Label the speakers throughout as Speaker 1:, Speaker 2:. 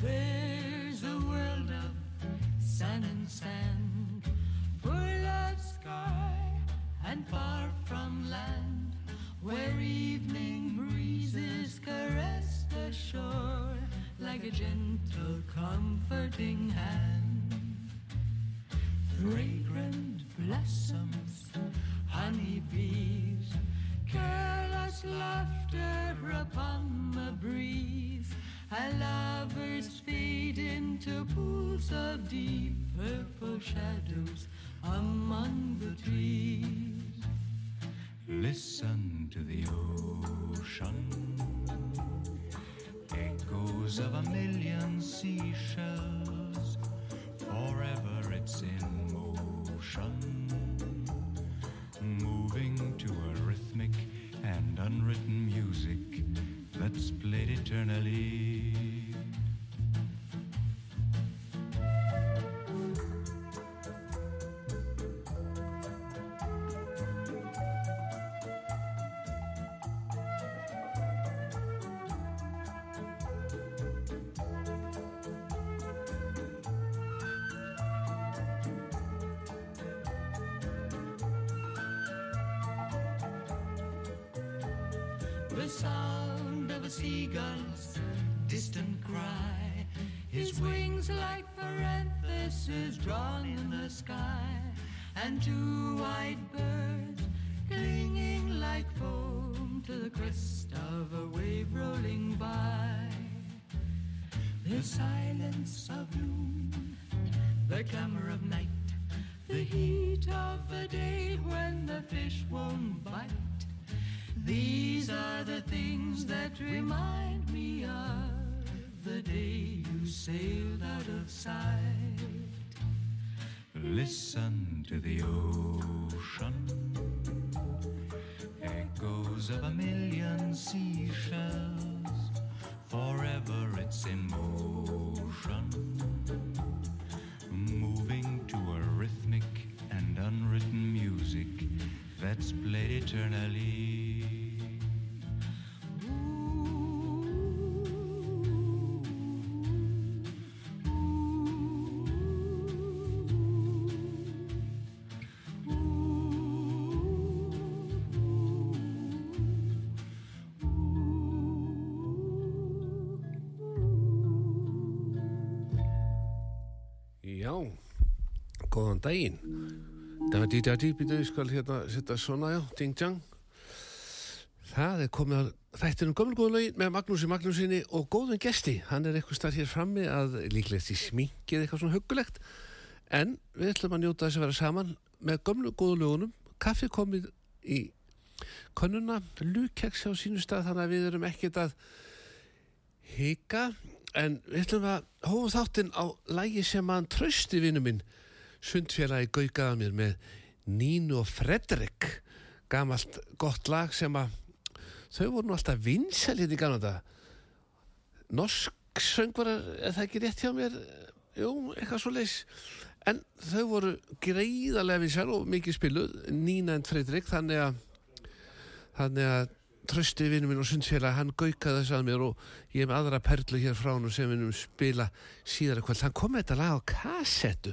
Speaker 1: There's a world of sun and sand, full of sky and far from land, where evening breezes caress the shore like a gentle, comforting hand. Fragrant blossoms, honeybees, careless laughter upon the breeze. And lovers fade into pools of deep purple shadows among the trees. Listen to the ocean, echoes of a million seashells. Forever it's in motion, moving to a rhythmic and unwritten music that's played eternally. The sound of a seagull's distant cry, his wings like parentheses drawn in the sky, and two white birds clinging like foam to the crest of a wave rolling by. The silence of noon, the clamor of night, the heat of the day when the fish won't bite. These are the things that remind me of the day you sailed out of sight. Listen to the ocean, echoes of a million seashells. Forever it's in motion, moving to a rhythmic and unwritten music that's played eternally.
Speaker 2: Já, góðan daginn. Dadi, dadi, býta, ég skal hérna setja svona, já, ding, djang. Það er komið að þættinum gömul góðu lögin með Magnúsi Magnúsinni og góðum gesti. Hann er eitthvað starf hér frammi að líklegt í sminkið eitthvað svona huggulegt. En við ætlum að njóta þess að vera saman með gömlu góðu lögunum. Kaffi komið í könnuna, lukeks hjá sínu stað þannig að við erum ekkert að hika en við ætlum að hófum þáttinn á lægi sem hann trösti vinnu minn sundfélagi gaukaða mér með Nínu og Fredrik gamalt gott lag sem að þau voru nú alltaf vinsal hérna í gamla þetta norsk söngvarar, er það ekki rétt hjá mér jú, eitthvað svo leis en þau voru greiðarlega vinsal og mikið spiluð Nína en Fredrik, þannig að þannig að trösti vinnu minn og sundfélag hann gaukaði þess að mér og ég hef með aðra perlu hér frá hann sem við um spila síðar í kvöld hann kom með þetta lag á kassettu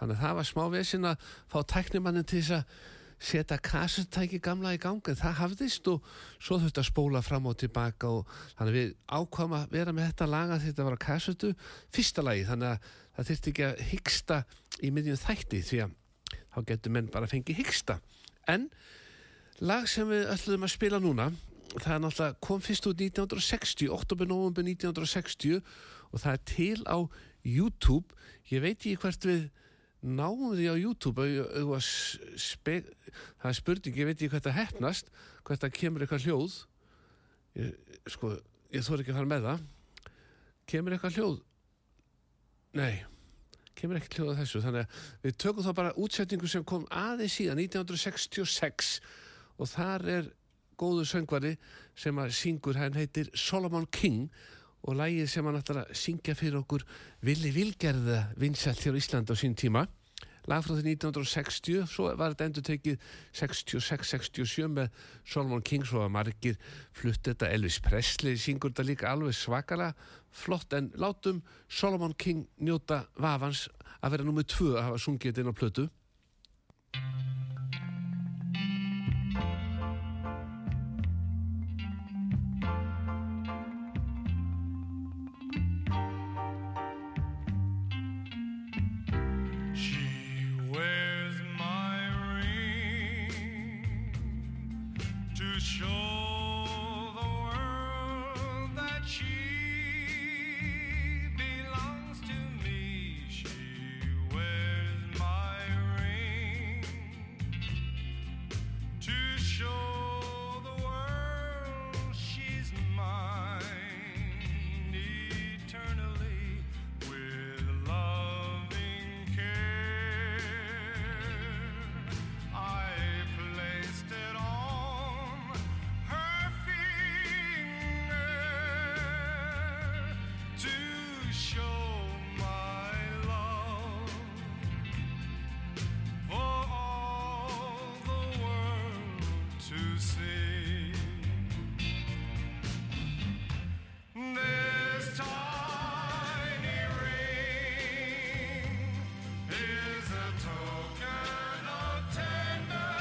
Speaker 2: þannig að það var smá vesinn að fá tæknimannin til þess að setja kassettæki gamla í gangi en það hafðist og svo þurfti að spóla fram og tilbaka og þannig að við ákvæm að vera með þetta laga þetta var á kassettu fyrsta lagi þannig að það þurfti ekki að hyggsta í miðjum þætti því að þá getur menn bara að fengi hyggsta en Lag sem við ætlum að spila núna það er náttúrulega kom fyrst út 1960 oktober, november 1960 og það er til á YouTube ég veit ekki hvert við náum því á YouTube au, au að spe, það er spurning, ég veit ekki hvert það hefnast hvert það kemur eitthvað hljóð ég, sko, ég þór ekki að fara með það kemur eitthvað hljóð nei, kemur ekki hljóða þessu þannig að við tökum þá bara útsetningu sem kom aðeins síðan 1966 og þar er góður söngvari sem að syngur hann heitir Solomon King og lægið sem hann ætlar að syngja fyrir okkur Vili Vilgerða vinsætt hér á Íslandi á sín tíma lag frá því 1960 svo var þetta endur tekið 66-67 með Solomon King svo að margir flutt þetta Elvis Presley syngur þetta líka alveg svakala flott en látum Solomon King njóta vafans að vera nummið tvö að hafa sungið þetta inn á plötu
Speaker 3: She wears my ring to show the world that she belongs to me. She wears my ring to show the world she's mine eternally with loving care. I placed it on her finger to show my love for all the world to see. This tiny ring is a token of tender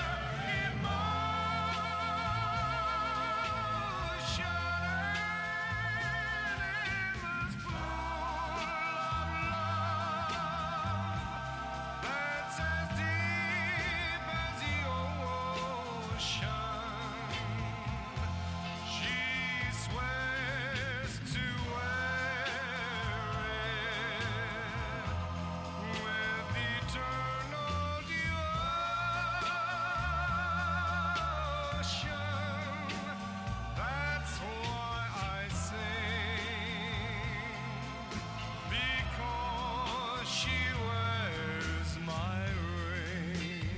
Speaker 3: emotion and endless pool of love. That's as deep as the ocean. She swears to wear it with eternal devotion. That's why I sing. Because she wears my ring.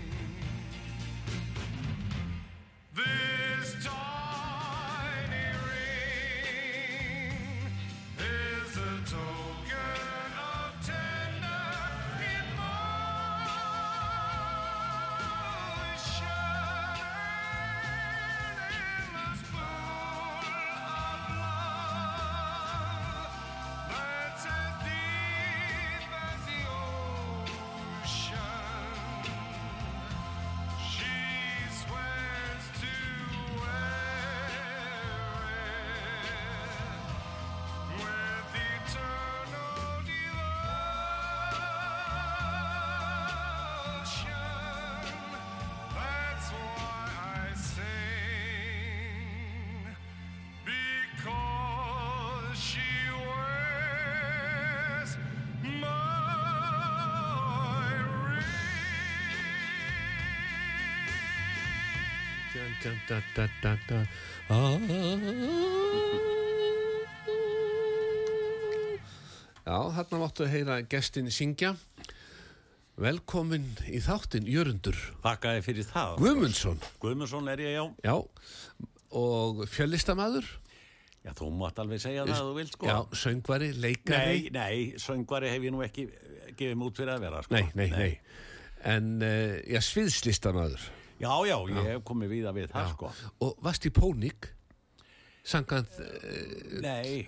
Speaker 3: This tiny ring is a token of tender emotion, endless pool of love. That's as deep as the ocean. She swears to wear it with eternal devotion. That's why I sing. Because she wears my ring.
Speaker 2: Dun, dun, dun, dun, dun, dun. Ah. Já, þarna máttu að heyra gestin syngja. Velkomin í þáttin Jörundur
Speaker 4: Þakka þér fyrir það
Speaker 2: Guðmundsson.
Speaker 4: Guðmundsson er ég, já
Speaker 2: Já, og fjöllistamadur.
Speaker 4: Já, þú mátt alveg segja það að þú vilt, sko
Speaker 2: Já, söngvari, leikari.
Speaker 4: Nei, nei, söngvari hef ég nú ekki eh, gefið mút fyrir að vera, sko
Speaker 2: nei, nei. nei. En, uh, já, sviðslistamadur.
Speaker 4: Já, já, ég hef komið víða við það, sko
Speaker 2: Og varst í pónik? Sangað, uh,
Speaker 4: Nei,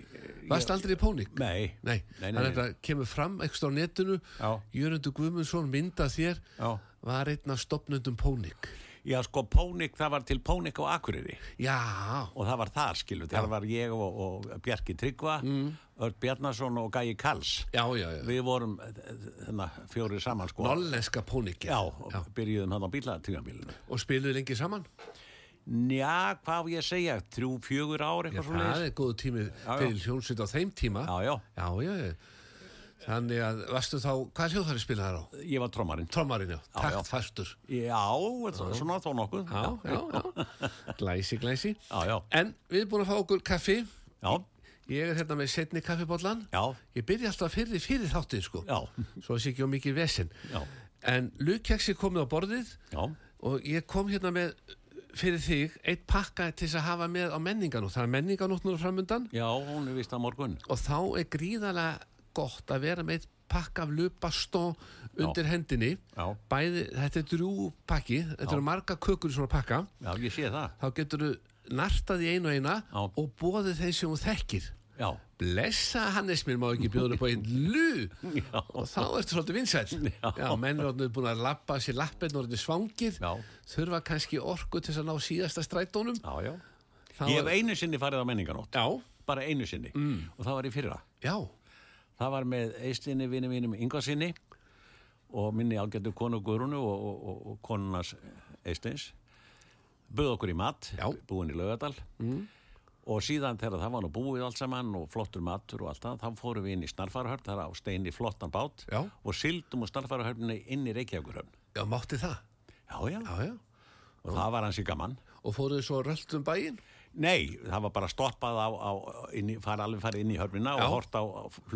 Speaker 2: varst aldrei í pónik?
Speaker 4: nei
Speaker 2: Nei,
Speaker 4: Nei, nei,
Speaker 2: þannig
Speaker 4: nei.
Speaker 2: að það kemur fram eitthvað á netinu
Speaker 4: Já.
Speaker 2: Jörundur Guðmundsson mynda þér
Speaker 4: Já.
Speaker 2: var einn af stopnundum Pónik
Speaker 4: Já, sko, Pónik, það var til Pónik á Akureyri
Speaker 2: Já,
Speaker 4: og það var þar, skilu, þar var ég og, og Bjarki Tryggva, mm. Örn Bjarnason og Gæi Kalls
Speaker 2: já, já, já.
Speaker 4: Við vorum, eh, þennan, fjóri saman, sko
Speaker 2: Nollenska Pónik
Speaker 4: Já, og byrjuðum hann á bílatíðanbílinu
Speaker 2: Og spiluðu lengi saman
Speaker 4: Já, hvað á ég að segja, þrjú, fjögur ár
Speaker 2: Já,
Speaker 4: eitthvað svo
Speaker 2: það er góðu tími
Speaker 4: já.
Speaker 2: fyrir hljónsveit á þeim tíma
Speaker 4: Já, já.
Speaker 2: já, já, já. Þannig að, varstu þá, hvað hljóðfæri spilaði þar á?
Speaker 4: Ég var trommarinn
Speaker 2: Trommarinn, já,
Speaker 4: Já, já.
Speaker 2: takt fastur
Speaker 4: Já, svo- svona þó nokkuð
Speaker 2: Já, já, já, glæsi, glæsi
Speaker 4: Já, já.
Speaker 2: En við erum búin að fá okkur kaffi
Speaker 4: já.
Speaker 2: Ég er hérna með setni kaffibollan.
Speaker 4: Já,
Speaker 2: Ég byrja alltaf fyrir, fyrir þáttin, sko.
Speaker 4: já,
Speaker 2: Svo þessi ekki á mikið vesinn.
Speaker 4: já,
Speaker 2: En lukkeksi komið á borðið
Speaker 4: já,
Speaker 2: og ég kom hérna með fyrir þig eitt pakka til þess að hafa með á menninganótt. Það er menninganótt núna framundan
Speaker 4: já, hún er vist að morgun.
Speaker 2: og þá er gríðalega gott að vera með eitt pakka af lupastó undir hendinni.
Speaker 4: Já,
Speaker 2: Bæði, þetta er drjú pakki, þetta
Speaker 4: Já.
Speaker 2: eru marga kökur í svona pakka.
Speaker 4: já, ég sé það.
Speaker 2: Þá getur þú nartað í einu og eina
Speaker 4: Já.
Speaker 2: og bóðið þeim sem hún þekkir.
Speaker 4: Já,
Speaker 2: Blessa Hannes, mér má ekki bjóða upp á einn lú
Speaker 4: já,
Speaker 2: og þá ertu svolítið vinsæll.
Speaker 4: Já.
Speaker 2: Já, menn er orðinu búin að lappa sér lappin og orðinu svangir.
Speaker 4: já,
Speaker 2: Þurfa kannski orku til þess að ná síðasta strætónum.
Speaker 4: já, já.
Speaker 2: Þá
Speaker 4: Ég
Speaker 2: er-
Speaker 4: hef einu sinni farið á menninganótt,
Speaker 2: Já, Mm.
Speaker 4: bara einu sinni og það var í fyrra.
Speaker 2: já,
Speaker 4: Það var með eistinni vini mínum Ingosinni og minni ágættu konu Guðrúnu og, og, og, og konunars eistins. Böð okkur í mat,
Speaker 2: Já.
Speaker 4: búin í Laugardal og síðan þegar það var nú búið allt saman og flottur matur og allt það, þá fórum við inn í Snarfarahörn, það er á steini flottan bát
Speaker 2: Já.
Speaker 4: og sildum úr Snarfarahörninni inn í Reykjavíkurhörn.
Speaker 2: já, mátti það.
Speaker 4: Já, já,
Speaker 2: Já, já.
Speaker 4: og það var hansi gaman.
Speaker 2: Og fóruðu svo röldum bæinn?
Speaker 4: Nei, það var bara stoppað á, á inn, í, fara alveg farið inn í hörnina
Speaker 2: Já.
Speaker 4: og hort á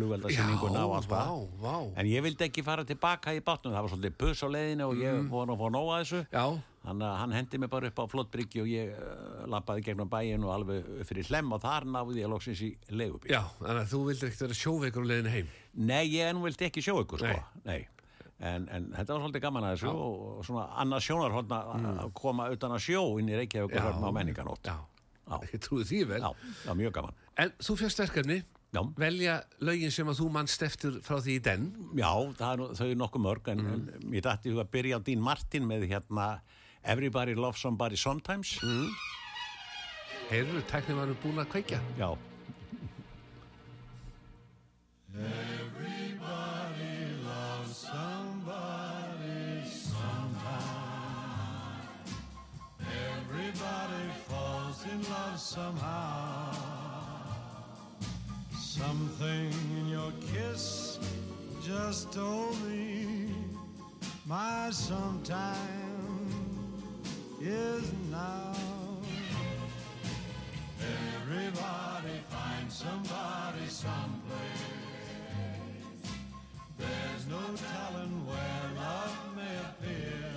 Speaker 4: flugveldarsyninguna og allt
Speaker 2: vá,
Speaker 4: það.
Speaker 2: vá.
Speaker 4: En ég vildi ekki fara tilbaka í bátnum, það var svolítið puss á leiðinu og ég var að fá nóga þessu.
Speaker 2: Mm. Já,
Speaker 4: Þannig að hann hendi mig bara upp á flottbryggju og ég uh, lappaði gegnum bæin og alveg upp fyrir hlem og þar náði ég loksins í leigubíl.
Speaker 2: já, þannig að þú vildir ekkert vera sjóveikur á leiðinu heim.
Speaker 4: Nei, ég enn vildi ekki sjó ykkur, sko. Nei. En, en þetta var svolítið gaman að þessu og, og svona annað sjónarhóttna að koma utan að sjó inn í Reykjavík og hörna á menninganótt.
Speaker 2: Mm. Já,
Speaker 4: Já.
Speaker 2: ég trúi því vel.
Speaker 4: Já, það var mjög gaman.
Speaker 2: En þú fyrst verkefni,
Speaker 4: Já.
Speaker 2: velja lögin sem að þú mannst eftir frá því í den. Mhm.
Speaker 4: Já, það er, þau eru nokkuð mörg en mm. ég dætti að byrja á Dín Martin með hérna Everybody Loves Somebody Sometimes
Speaker 2: Mhm. Heyrðu, tæknir varum búin að kveikja.
Speaker 4: Já,
Speaker 5: Everybody falls in love somehow. Something in your kiss just told me my sometime is now. Everybody finds somebody someplace. There's no telling where love may appear.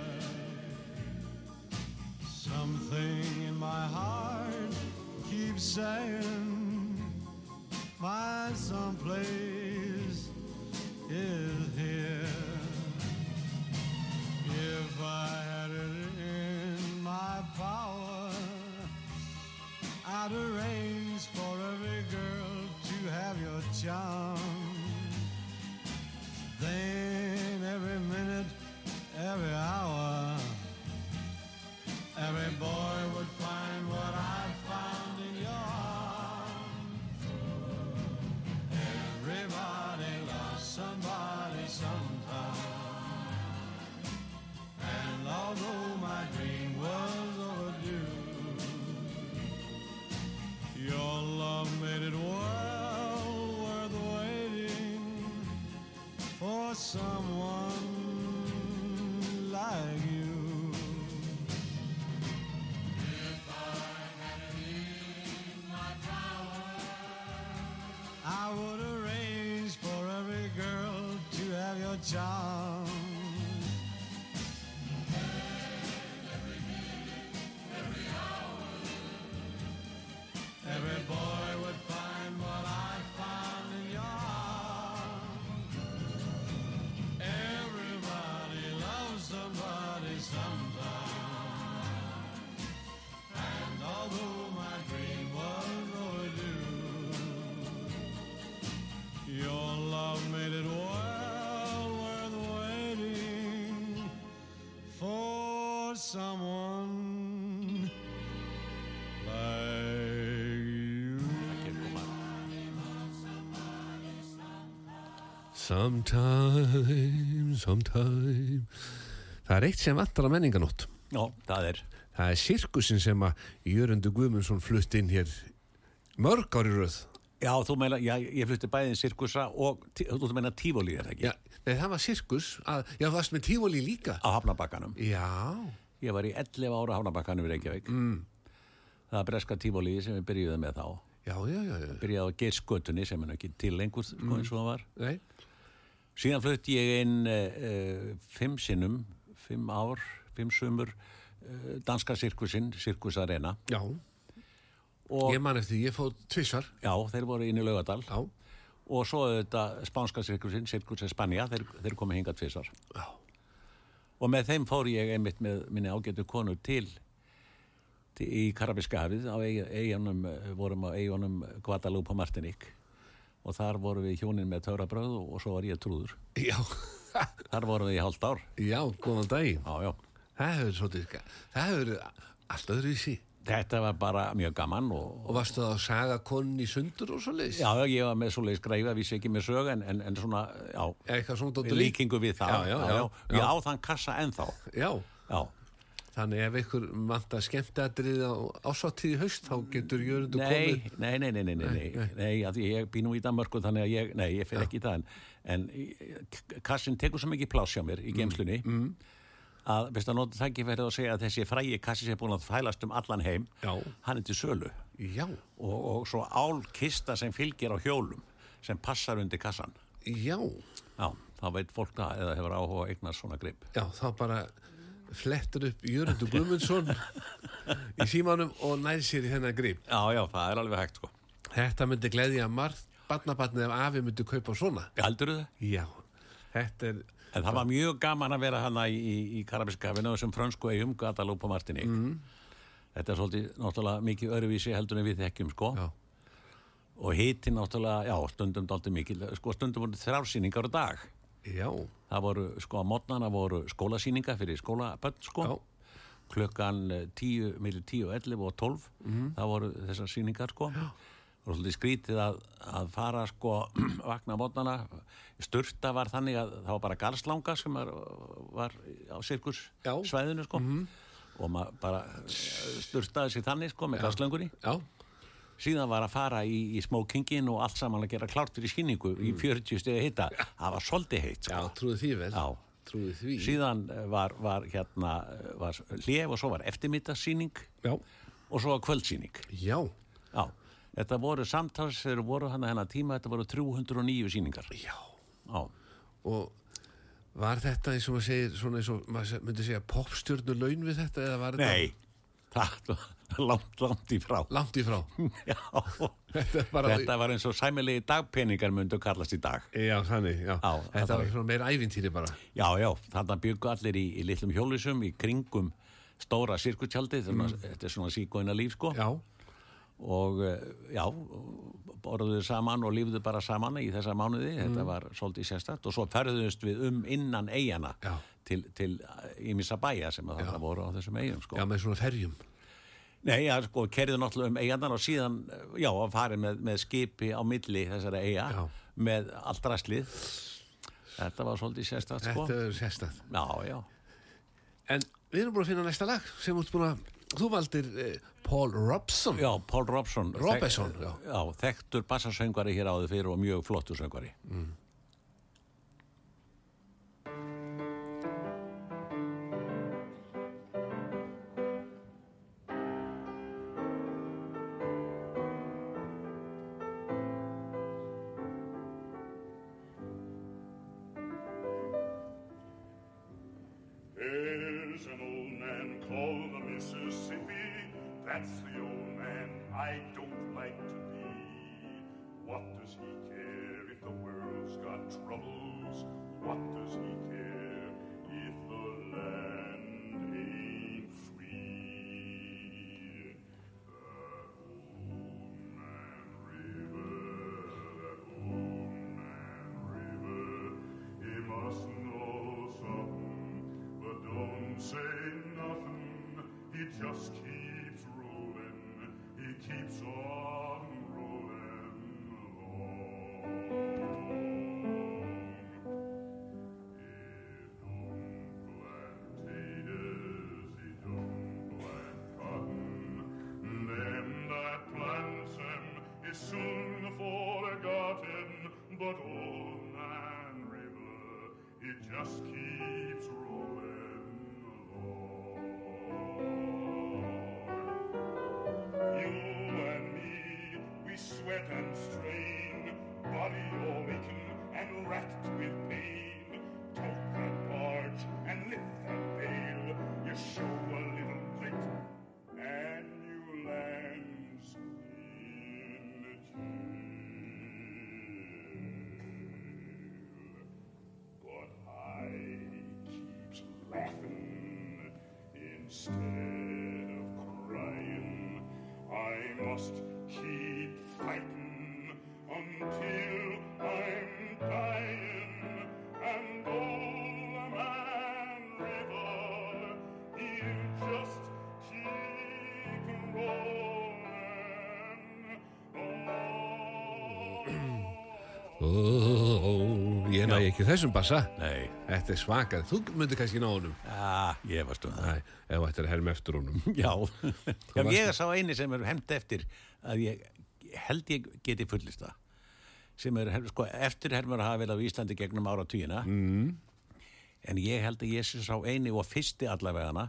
Speaker 5: Something in my heart keeps saying my someplace is here. If I had it in my power, I'd arrange for every girl to have your charm then every minute, every hour, every boy would find what I found in your arms. Everybody loves somebody sometime, and although my dream was overdue, your love made it well worth waiting for someone like you. If I had it in my power, I would arrange for every girl to have your charm. Every boy would find what I found in your arms. Everybody loves somebody sometime. And although my dream was overdue, your love made it well worth waiting for someone like you.
Speaker 4: hér koma
Speaker 2: Sometime, sometime. Það er eitt sem vantar á menninganótt.
Speaker 4: Já, það er
Speaker 2: Það er sirkusin sem að Jörundur Guðmundsson flutt inn hér mörg ári röð.
Speaker 4: Já, þú meina, já, ég flutti bæðin sirkusa og tí- þú meina tífólí er það ekki
Speaker 2: Já, nei, það var sirkus. Að, já, það varst með tífóli líka.
Speaker 4: á Hafnabakkanum
Speaker 2: Já,
Speaker 4: Ég var í 11 ára Hafnabakkanum í Reykjavík mm. Það er breska tífólí sem við byrjuðum með þá
Speaker 2: já, já, já, já.
Speaker 4: byrjaði á geirskötunni sem er nú ekki til lengur sko, eins og það var
Speaker 2: Nei,
Speaker 4: síðan flutti ég inn uh, fimm sinnum, fimm ár fimm sumur uh, danska sirkusinn, Sirkus Arena
Speaker 2: já,
Speaker 4: og
Speaker 2: ég man eftir, ég fóð tvissar,
Speaker 4: já, þeir voru inn í Laugadal
Speaker 2: já,
Speaker 4: og svo þetta spánska sirkusinn, Sirkus Espanja þeir, þeir komu hingað tvisar
Speaker 2: já,
Speaker 4: og með þeim fór ég einmitt með minni ágætu konu til, til í Karabíska hafið á eigunum, vorum á eigunum Guadalupe og Martiník og þar vorum við hjónin með törabröð og og svo var ég trúður
Speaker 2: já,
Speaker 4: þar vorum við í hálft ár
Speaker 2: já, góðan daginn.
Speaker 4: já, já.
Speaker 2: Það hefur svolítið, það hefur allt öðruvísi.
Speaker 4: þetta var bara mjög gaman og,
Speaker 2: Og varstu það að saga konin í sundur og svo leiðis?
Speaker 4: já, já, ég var með svoleiðis greifa vissi ekki með sög en, en, en svona, já,
Speaker 2: Eitthvað svona dóttur lík?
Speaker 4: líkingu við það
Speaker 2: Já, já, já,
Speaker 4: ég
Speaker 2: já.
Speaker 4: á þann kassa ennþá
Speaker 2: Já,
Speaker 4: já,
Speaker 2: þannig ef ykkur manta skemmtadrið á ásáttíð í haust, þá getur jörundu
Speaker 4: nei,
Speaker 2: komið.
Speaker 4: nei, nei, nei, nei, nei, nei, nei að því ég býnum í Danmörku þannig að ég, nei, ég fer ekki í það en, en í- kassin tekur svo mikið pláss hjá mér í geimslunni mm. að, veist að nota tækifærið að segja að þessi frægi kassi sem er búin að þælast um allan heim
Speaker 2: Já.
Speaker 4: hann er til sölu
Speaker 2: Já,
Speaker 4: og, og svo álkista sem fylgir á hjólum sem passar undir kassan
Speaker 2: já,
Speaker 4: Já, þá veit fólk það eða hefur áhuga að eignast svona grip.
Speaker 2: já, þá bara flettur upp Jörundu Guðmundsson í símanum og nær sér í þennan grip.
Speaker 4: Já, já, það er alveg hægt, sko.
Speaker 2: Þetta myndi gleðja margt barnabarnið ef afi myndi kaupa svona.
Speaker 4: Heldur það?
Speaker 2: Já, þetta er,
Speaker 4: En það var mjög gaman að vera hana í, í Karabíska hafinu og þessum frönsku eigum Guadalupe og Martiník. Þetta er svolítið náttúrulega mikið öruvísi heldur en við þekkjum, sko.
Speaker 2: já,
Speaker 4: Og hitti náttúrulega, já, stundum dálítið mikið, sko, stundum voru þrjársýningar á dag.
Speaker 2: já,
Speaker 4: Það voru, sko, á mótnana voru skólasýningar fyrir skólabönn, sko.
Speaker 2: já,
Speaker 4: klukkan eh, 10, millir 10, 11 og 12
Speaker 2: Mhm.
Speaker 4: það voru þessar sýningar sko og svolítið skrítið að, að fara sko vakna mótnana sturta var þannig að það var bara garslanga sem var, var á
Speaker 2: Já.
Speaker 4: sirkussvæðinu sko
Speaker 2: Mhm.
Speaker 4: og maður bara eh, sturtaði sig þannig sko með garslöngunni
Speaker 2: já,
Speaker 4: síðan var að fara í, í smókingin og allt saman að gera klárt fyrir sýningu í 40 stegi hitta, það var svolítið heitt sko.
Speaker 2: Mm. já, trúið því vel.
Speaker 4: Já.
Speaker 2: Trúið því.
Speaker 4: síðan eh, var, var hérna eh, var hlef og svo var eftirmiddagssýning
Speaker 2: Já.
Speaker 4: og svo var kvöldsýning
Speaker 2: Já,
Speaker 4: já, þetta voru samtals þegar voru hann að hennar tíma, þetta voru 309 sýningar
Speaker 2: já.
Speaker 4: já,
Speaker 2: Og var þetta eins og maður segir, svona eins og maður se- myndi segja popstjörnu laun við þetta eða var þetta
Speaker 4: nei það var langt, langt í frá
Speaker 2: langt í frá?
Speaker 4: já,
Speaker 2: Þetta er bara-
Speaker 4: þetta var eins og sæmilegi dagpeningar myndu kallast í dag
Speaker 2: Já, þannig, já.
Speaker 4: Já,
Speaker 2: þetta
Speaker 4: þetta
Speaker 2: var
Speaker 4: var-
Speaker 2: svona meira ævintýri bara.
Speaker 4: já, já, þarna byggu allir í, í litlum hjólusum í kringum stóra sirkutjaldið, mm. þetta er svona síkóina líf sko
Speaker 2: Já,
Speaker 4: og eh, já borðuðu saman og lífðu bara saman í þessa mánuði,
Speaker 2: Mm.
Speaker 4: þetta var svolítið sérstætt og svo ferðuðust við um innan eigana
Speaker 2: Já.
Speaker 4: til, til ímissa bæja sem að þarna voru á þessum eigum sko.
Speaker 2: já, með svona ferjum.
Speaker 4: Nei, já, sko, kerðu náttúrulega um eiganar og síðan, já, að fara með, með skipi á milli þessara eiga
Speaker 2: Já.
Speaker 4: með allt rastlið þetta var svolítið sérstætt sko.
Speaker 2: Þetta er sérstætt.
Speaker 4: Já, já,
Speaker 2: En við erum búin að finna næsta lag sem út búin að, þú valdir eh, Paul Robson.
Speaker 4: já, Paul Robson
Speaker 2: Robinson, já.
Speaker 4: já, þekktur bassasöngvari hér áður fyrir og mjög flottur söngvari
Speaker 6: There's an old man called the Mississippi. That's the old man I don't like to be. What does he care if the world's got troubles? What does he care if the land ain't free? That old man river, that old man river, he must know something, but don't say nothing. He just keeps rolling, he keeps on rolling along. Soon forgotten, but old man river, it just keeps rolling along. You and me, we
Speaker 2: ég næ ekki þessum bassa.
Speaker 4: Nei,
Speaker 2: Þetta er svakað. Þú myndir kannski ná honum.
Speaker 4: já, ég varst um það.
Speaker 2: Nei, ef þetta er herm eftir honum.
Speaker 4: Já, já
Speaker 2: varst-
Speaker 4: ég sá eini sem er hefnd eftir að ég held ég geti fullist það sem er, sko, eftirhermur hafa vel á Íslandi gegnum ára tíina mm. en ég held að ég sé sá eini og fyrsti allavegana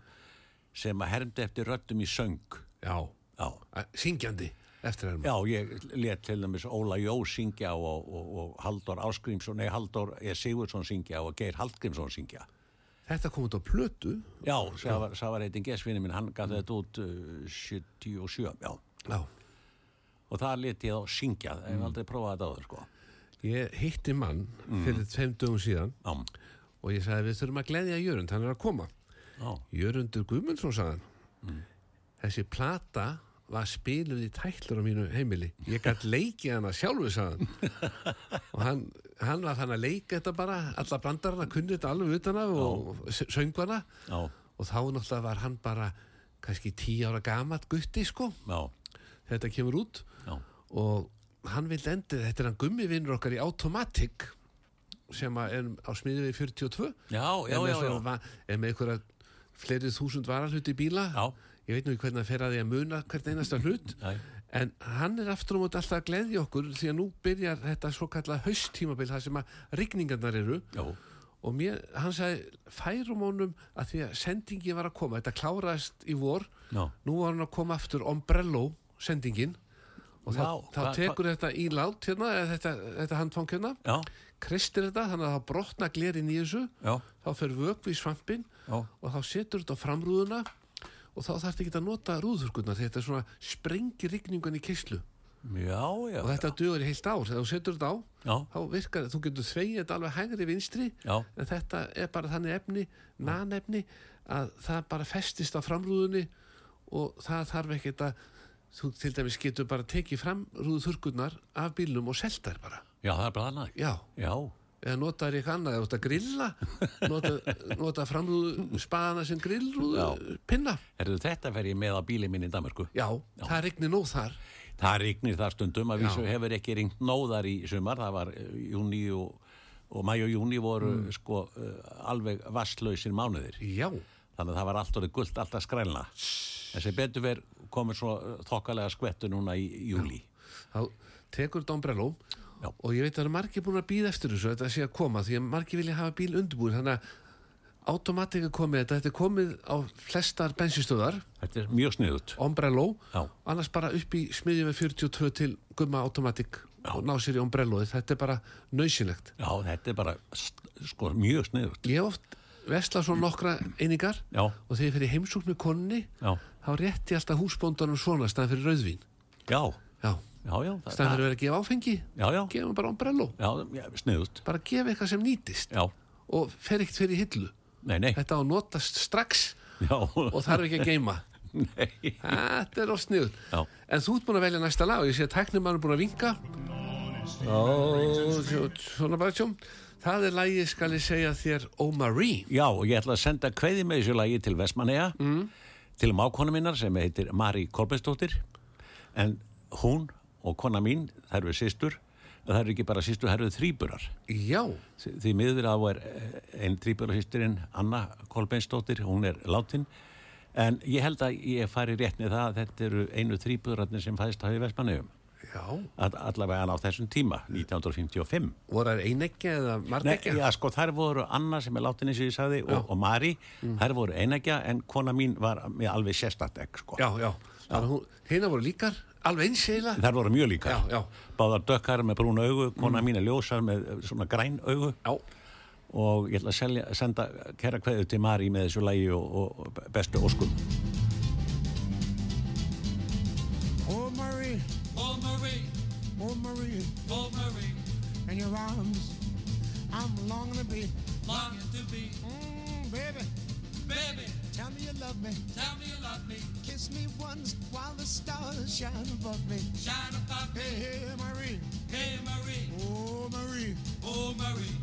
Speaker 4: sem að hermdi eftir röddum í söng
Speaker 2: Já,
Speaker 4: Já,
Speaker 2: að- syngjandi eftir herm.
Speaker 4: já ég let til dæmis Óla Jó syngja og, og, og Halldór Áskrimsson, nei Halldór E. Sigurðsson syngja og Geir Hallgrímsson syngja
Speaker 2: Þetta kom út á plötu.
Speaker 4: Já, það var, það var eitthvað gesvinni minn, hann gaf þetta út uh, 77, já
Speaker 2: Já.
Speaker 4: og það let ég þá syngja en mm. aldrei prófaði þetta áður sko
Speaker 2: Ég hitti mann fyrir tveim dögum síðan
Speaker 4: Mm. Já,
Speaker 2: og ég sagði við þurfum að gleðja Jörund, hann er að koma.
Speaker 4: já,
Speaker 2: Jörundur Guðmundsson sagðan mm. þessi plata var spiluð í tætlur á mínu heimili ég gætt leikið hana sjálfu sagðan og hann, hann var þannig að leika þetta bara alla brandarana kunni þetta alveg utan af og s- söngu hana
Speaker 4: já,
Speaker 2: og þá náttúrulega var hann bara kannski tíu ára gamalt gutti sko
Speaker 4: já,
Speaker 2: þetta kemur út
Speaker 4: já,
Speaker 2: og hann vildi endið, þetta er hann gummivinnur okkar í Automatic sem að er á smiðið við 42
Speaker 4: já, já,
Speaker 2: er með
Speaker 4: já,
Speaker 2: svona
Speaker 4: já.
Speaker 2: va- er með einhverja fleiri þúsund varahluti bíla
Speaker 4: Já.
Speaker 2: ég veit nú ekki hvernig að fer að því að muna hvert einasta hlut
Speaker 4: Nei.
Speaker 2: en hann er aftur á móti alltaf að gleðja okkur því að nú byrjar þetta svo kallað hausttímabil þar sem að rigningarnar eru
Speaker 4: já,
Speaker 2: og mér, hann sagði færum honum að því að sendingi var að koma þetta kláraðist í vor
Speaker 4: Já.
Speaker 2: nú var hann að koma aftur Ombrello sendingin og þá,
Speaker 4: Já,
Speaker 2: þá
Speaker 4: hvað-
Speaker 2: tekur þetta í lát hérna, eða þetta, þetta handfang hérna
Speaker 4: já,
Speaker 2: kristir þetta, þannig að það brotna glerin í þessu
Speaker 4: já,
Speaker 2: þá fer vökvi í svampin
Speaker 4: Já.
Speaker 2: og þá setur þetta á framrúðuna og þá þarf ekki að nota rúðurkurnar því þetta er svona sprengir rigningun í kyslu
Speaker 4: já, já,
Speaker 2: og þetta dugur í heilt ár, þegar þú setur þetta á
Speaker 4: já,
Speaker 2: þá virkar, þú getur þvegið þetta alveg hægri vinstri
Speaker 4: já,
Speaker 2: en þetta er bara þannig efni, nanefni að það bara festist á framrúðunni og það þarf ekkert að þú til dæmis getur bara tekið framrúðu þurrkurnar af bílnum og selta þær bara
Speaker 4: já, það er bara annað.
Speaker 2: já,
Speaker 4: Já,
Speaker 2: eða nota þær eitthvað annað, eða nota grilla nota, nota framrúðu spaðana sem grillrúðu pinna
Speaker 4: Herðu, þetta fer ég með á bíli minn í Danmarku.
Speaker 2: já, það rignir nóg þar
Speaker 4: Það rignir þar stundum að
Speaker 2: Já.
Speaker 4: vísu hefur ekki ringt nóðar í sumar. Það var eh, júni og, og mæ og júni voru sko eh, alveg vasslausir mánuðir.
Speaker 2: Mm. já,
Speaker 4: Þannig að það var allt orðið gullt, alltaf skrælna. Þessi betur verð komið svo eh, þokkalega skvettu núna í júli.
Speaker 2: þá tekur þetta ombrello
Speaker 4: Já.
Speaker 2: og ég veit að það eru margir búin að býða eftir þessu þetta sé að koma, því að margir vilja hafa bíl undirbúin þannig að automatik er komið þetta, þetta er komið á flestar bensinstöðar
Speaker 4: Þetta er mjög sniðut.
Speaker 2: ombrello,
Speaker 4: Já.
Speaker 2: annars bara upp í smiðjum við 42 til gumma automatik og ná sér í ombrelloið, þetta er bara nöysynlegt
Speaker 4: Já, þetta er bara st- sko mjög sniðut.
Speaker 2: ég hef oft vesla svona nokkra einingar
Speaker 4: Já.
Speaker 2: og þegar ég fer í heimsókn með konni
Speaker 4: Já,
Speaker 2: þá rétti ég alltaf húsbóndanum svona staðan fyrir rauðvín
Speaker 4: já,
Speaker 2: já,
Speaker 4: já, já. það-
Speaker 2: staðan fyrir að vera að gefa áfengi
Speaker 4: Já, já,
Speaker 2: gefum bara ombrello,
Speaker 4: já, já sniðut.
Speaker 2: bara gefa eitthvað sem nýtist
Speaker 4: Já,
Speaker 2: og fer ekkert fyrir hillu
Speaker 4: nei, nei.
Speaker 2: þetta á að notast strax
Speaker 4: Já,
Speaker 2: og þarf ekki að geyma
Speaker 4: nei.
Speaker 2: þetta er of sniður
Speaker 4: Já.
Speaker 2: en þú ert búin að velja næsta lag og ég sé að tæknum er búin að vinka Ó, sjó- svona bara tjóm það er lagið skal ég segja þér Oh Marie
Speaker 4: Já, og ég ætla að senda kveði með þessu lagi til Vestmanneja mm. til mákona minnar sem heitir Mari Kolbensdóttir en hún og kona mín, þær eru systur það eru ekki bara systur, þær eru þrýburar
Speaker 2: já,
Speaker 4: því miður að hún er eh, ein þrýburarhýsturinn Anna Kolbensdóttir, hún er látin en ég held að ég fari rétt með það að þetta eru einu þrýburarnir sem fæðist hafi Vestmannejum
Speaker 2: já
Speaker 4: allavega á þessum tíma, 1955
Speaker 2: voru það einegja eða
Speaker 4: Nei,
Speaker 2: margegja
Speaker 4: já, sko, þær voru Anna sem er látin eins og ég sagði og, og Mari,
Speaker 2: Mm.
Speaker 4: þær voru einægja en kona mín var með alveg sérstakt egg, sko.
Speaker 2: já, já, þannig að hún- hinar voru líkar alveg eins eiginlega
Speaker 4: Þær voru mjög líka.
Speaker 2: Já, já. Mm.
Speaker 4: Báðar dökkar með brún augu, kona mín er ljósar með eh, svona græn augu
Speaker 2: já,
Speaker 4: og ég ætla að selja, senda kæra kveðu til Mari með þessu lægi og, og bestu óskum.
Speaker 5: Oh, Marie,
Speaker 3: Oh, Marie,
Speaker 5: oh, Marie,
Speaker 3: oh, Marie,
Speaker 5: in your arms, I'm longing to be.
Speaker 3: longing to be.
Speaker 5: Mm, baby,
Speaker 3: Baby,
Speaker 5: tell me you love me.
Speaker 3: tell me you love me.
Speaker 5: Kiss me once while the stars shine above me.
Speaker 3: Shine above me.
Speaker 5: Hey, hey, Marie,
Speaker 3: Hey, Marie,
Speaker 5: oh, Marie,
Speaker 3: oh, Marie,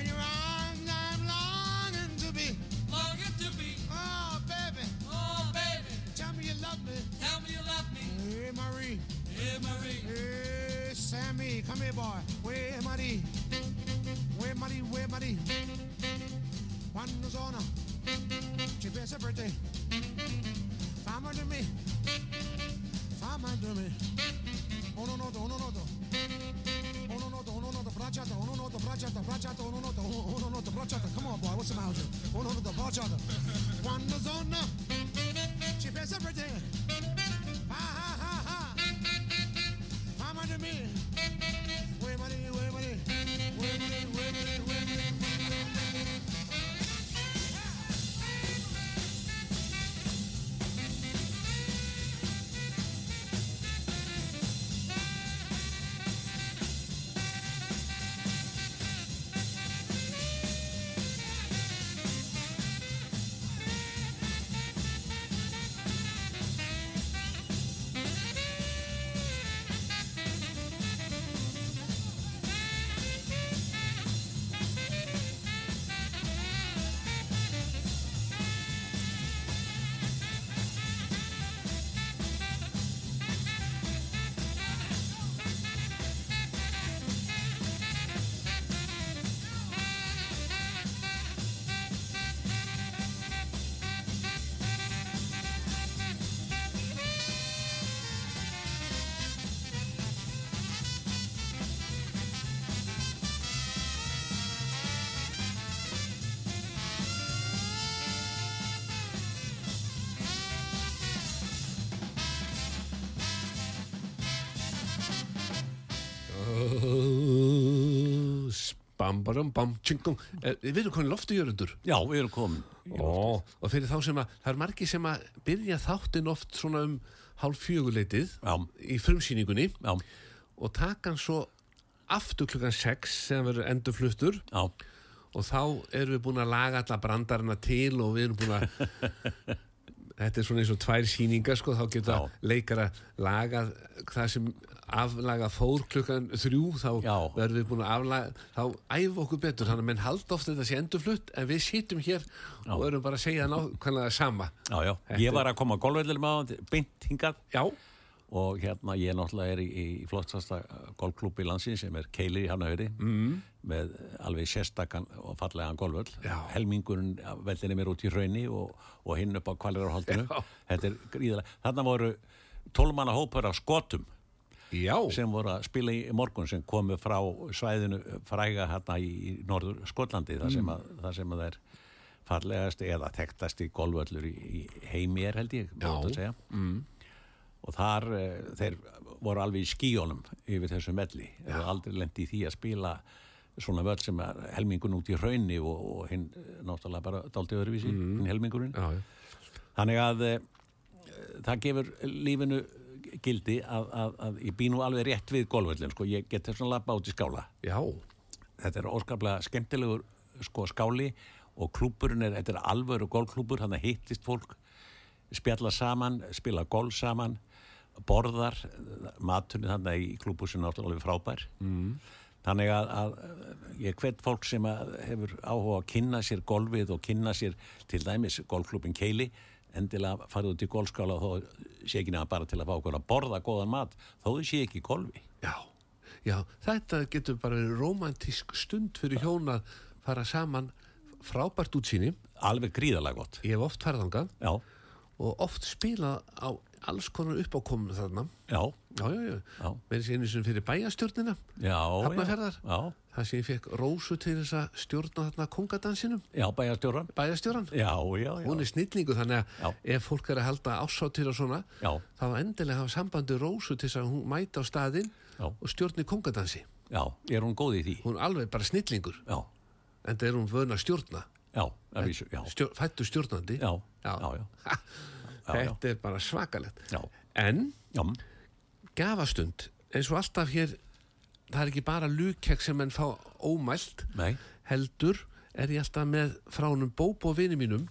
Speaker 5: in your arms, I'm longing to be.
Speaker 3: longing to be.
Speaker 5: Oh, baby,
Speaker 3: Oh, baby,
Speaker 5: tell me you love me.
Speaker 3: tell me you love me.
Speaker 5: Hey, Marie,
Speaker 3: Hey, Marie,
Speaker 5: hey, Sammy, come here, boy. Where, Marie? Where, muddy, way muddy. Quando sono, ci pensa per te. Fama di me, fama di me. Uno noto, uno noto. Uno noto, uno noto, bracciata, uno noto, bracciata, bracciata, uno noto, uno uno noto, bracciata. Come on, boy, what's the matter with you? Uno noto, bracciata. Quando sono, ci pensa per te. Fa, ha, ha, ha. Fama di me. Way muddy, way muddy. Way muddy, way muddy, way muddy.
Speaker 2: Bambaram, bam, tjengum Við erum komin loftugjörundur
Speaker 4: Já, við erum komin í loftið.
Speaker 2: Ó, og fyrir þá sem að það er margi sem að byrja þáttinn oft svona um hálf fjöguleitið
Speaker 4: Já.
Speaker 2: í frumsýningunni
Speaker 4: Já,
Speaker 2: og taka hann svo aftur klukkan 6 sem verður endurfluttur
Speaker 4: já,
Speaker 2: og þá erum við búin að laga alla brandarina til og við erum búin að þetta er svona eins og tvær sýningar sko, þá geta
Speaker 4: Já.
Speaker 2: leikara laga það sem aflaga fór klukkan þrjú þá
Speaker 4: Já.
Speaker 2: verðum við búin að aflaga þá æfa okkur betur, þannig að menn halda ofta þetta sé endurflutt en við sittum hér og erum bara að segja nákvæmlega sama
Speaker 4: já, já. Ég var að koma á golfvellir með á beint hingað
Speaker 2: Já,
Speaker 4: og hérna ég náttúrulega er í, í flottasta golfklúbi landsins sem er Keili í Hannahöri mm. með alveg sérstakann og fallegan golföll
Speaker 2: Já.
Speaker 4: helmingurinn af vellinni mér út í hraunni og, og hinn upp á kvalirarholdinu þetta er gríðalega, þarna voru tólmanna hópur af skotum
Speaker 2: já,
Speaker 4: sem voru að spila í morgun sem komu frá svæðinu fræga hérna í í norður Skotlandi þar
Speaker 2: Mm.
Speaker 4: sem að, þar sem að það er fallegast eða þekktasti golföllur í, í heimi er held ég má
Speaker 2: Já.
Speaker 4: þetta segja og þar eh, þeir voru alveg í skíjónum yfir þessu melli og aldrei lendi í því að spila svona völl sem er helmingun út í hraunni og, og hinn eh, náttúrulega bara daldi öðruvísi, hinn helmingurinn
Speaker 2: Mhm. já, já.
Speaker 4: Þannig að e, það gefur lífinu gildi að, að, að ég bý nú alveg rétt við golföllin, sko, ég get þess að lappa út í skála.
Speaker 2: já.
Speaker 4: Þetta er óskaplega skemmtilegur sko skáli og klúburinn er, þetta er alvöru golfklúbur, þannig að hittist fólk, spjalla saman, spila golf saman, borðar, maturinn þannig í klúbusinu náttúrulega alveg frábær. Mm. Þannig að, að ég hvet fólk sem að hefur áhuga að kynna sér golfið og kynna sér til dæmis golfklúbin Keili endilega farið út í golfskála og þó sé ekki nefna bara til að fá okkur að borða góðan mat þó þau sé ekki í golfi.
Speaker 2: Já, já, þetta getur bara verið romantísk stund fyrir hjón að fara saman frábært útsýni.
Speaker 4: Alveg gríðalega gott.
Speaker 2: Ég hef oft farið þangað
Speaker 4: Já,
Speaker 2: og oft spilað á alls konar uppákomum þarna.
Speaker 4: já,
Speaker 2: Já, já, já.
Speaker 4: Já.
Speaker 2: Með þessi einu sem fyrir bæjastjórnina.
Speaker 4: Já, já.
Speaker 2: Hafnarfjarðar.
Speaker 4: Já,
Speaker 2: Það sem ég fekk rósu til þess að stjórna þarna kongadansinum,
Speaker 4: já, bæjarstjóran.
Speaker 2: bæjastjóran.
Speaker 4: Já, já, já.
Speaker 2: Hún er snillingu þannig að
Speaker 4: Já.
Speaker 2: ef fólk er að halda ásáttir og svona,
Speaker 4: Já.
Speaker 2: þá endilega hafa sambandi rósu til þess að hún mæta á staðinn
Speaker 4: Já.
Speaker 2: og stjórni kongadansi.
Speaker 4: Já, er hún góð í því?
Speaker 2: Hún er alveg bara snillingur,
Speaker 4: Já,
Speaker 2: en það er hún vöna að stjórna.
Speaker 4: já, að vísu, já.
Speaker 2: stjór, fættu stjórnandi
Speaker 4: Já,
Speaker 2: já.
Speaker 4: já, já.
Speaker 2: Ha,
Speaker 4: Já,
Speaker 2: þetta er bara svakalegt
Speaker 4: Já.
Speaker 2: en
Speaker 4: Já,
Speaker 2: gafastund eins og alltaf hér það er ekki bara lúkjæk sem menn fá ómælt
Speaker 4: nei,
Speaker 2: heldur er ég alltaf með fránum bóp og vini mínum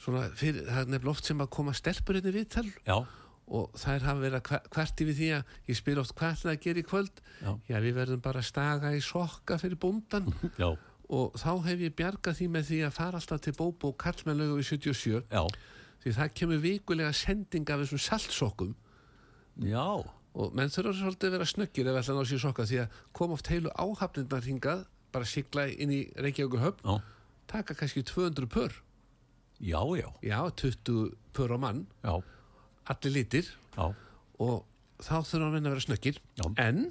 Speaker 2: svona fyrir, það er nefnilega oft sem að koma stelpur hérna við tal
Speaker 4: já,
Speaker 2: og þær hafa verið að kva- kvarti við því að ég spyr oft hvað ætlaði að gera í kvöld
Speaker 4: Já.
Speaker 2: já við verðum bara að staga í sokka fyrir bóndan
Speaker 4: já,
Speaker 2: og þá hef ég bjargað því með því að fara alltaf til Bóbo og Karlmennlaugu við 77
Speaker 4: já,
Speaker 2: því það kemur vikulega sending af þessum saltsokkum
Speaker 4: já,
Speaker 2: og menn þurfa svolítið að vera snöggir ef ætla að ná sér sokka því að kom oft heilu áhafnirnar hingað bara sigla inn í Reykjavíku höfn,
Speaker 4: Já,
Speaker 2: taka kannski 200 pör,
Speaker 4: já, já,
Speaker 2: já, 20 pör á mann,
Speaker 4: já,
Speaker 2: allir litir
Speaker 4: já,
Speaker 2: og þá þurfa menn að vera snöggir,
Speaker 4: Já.
Speaker 2: en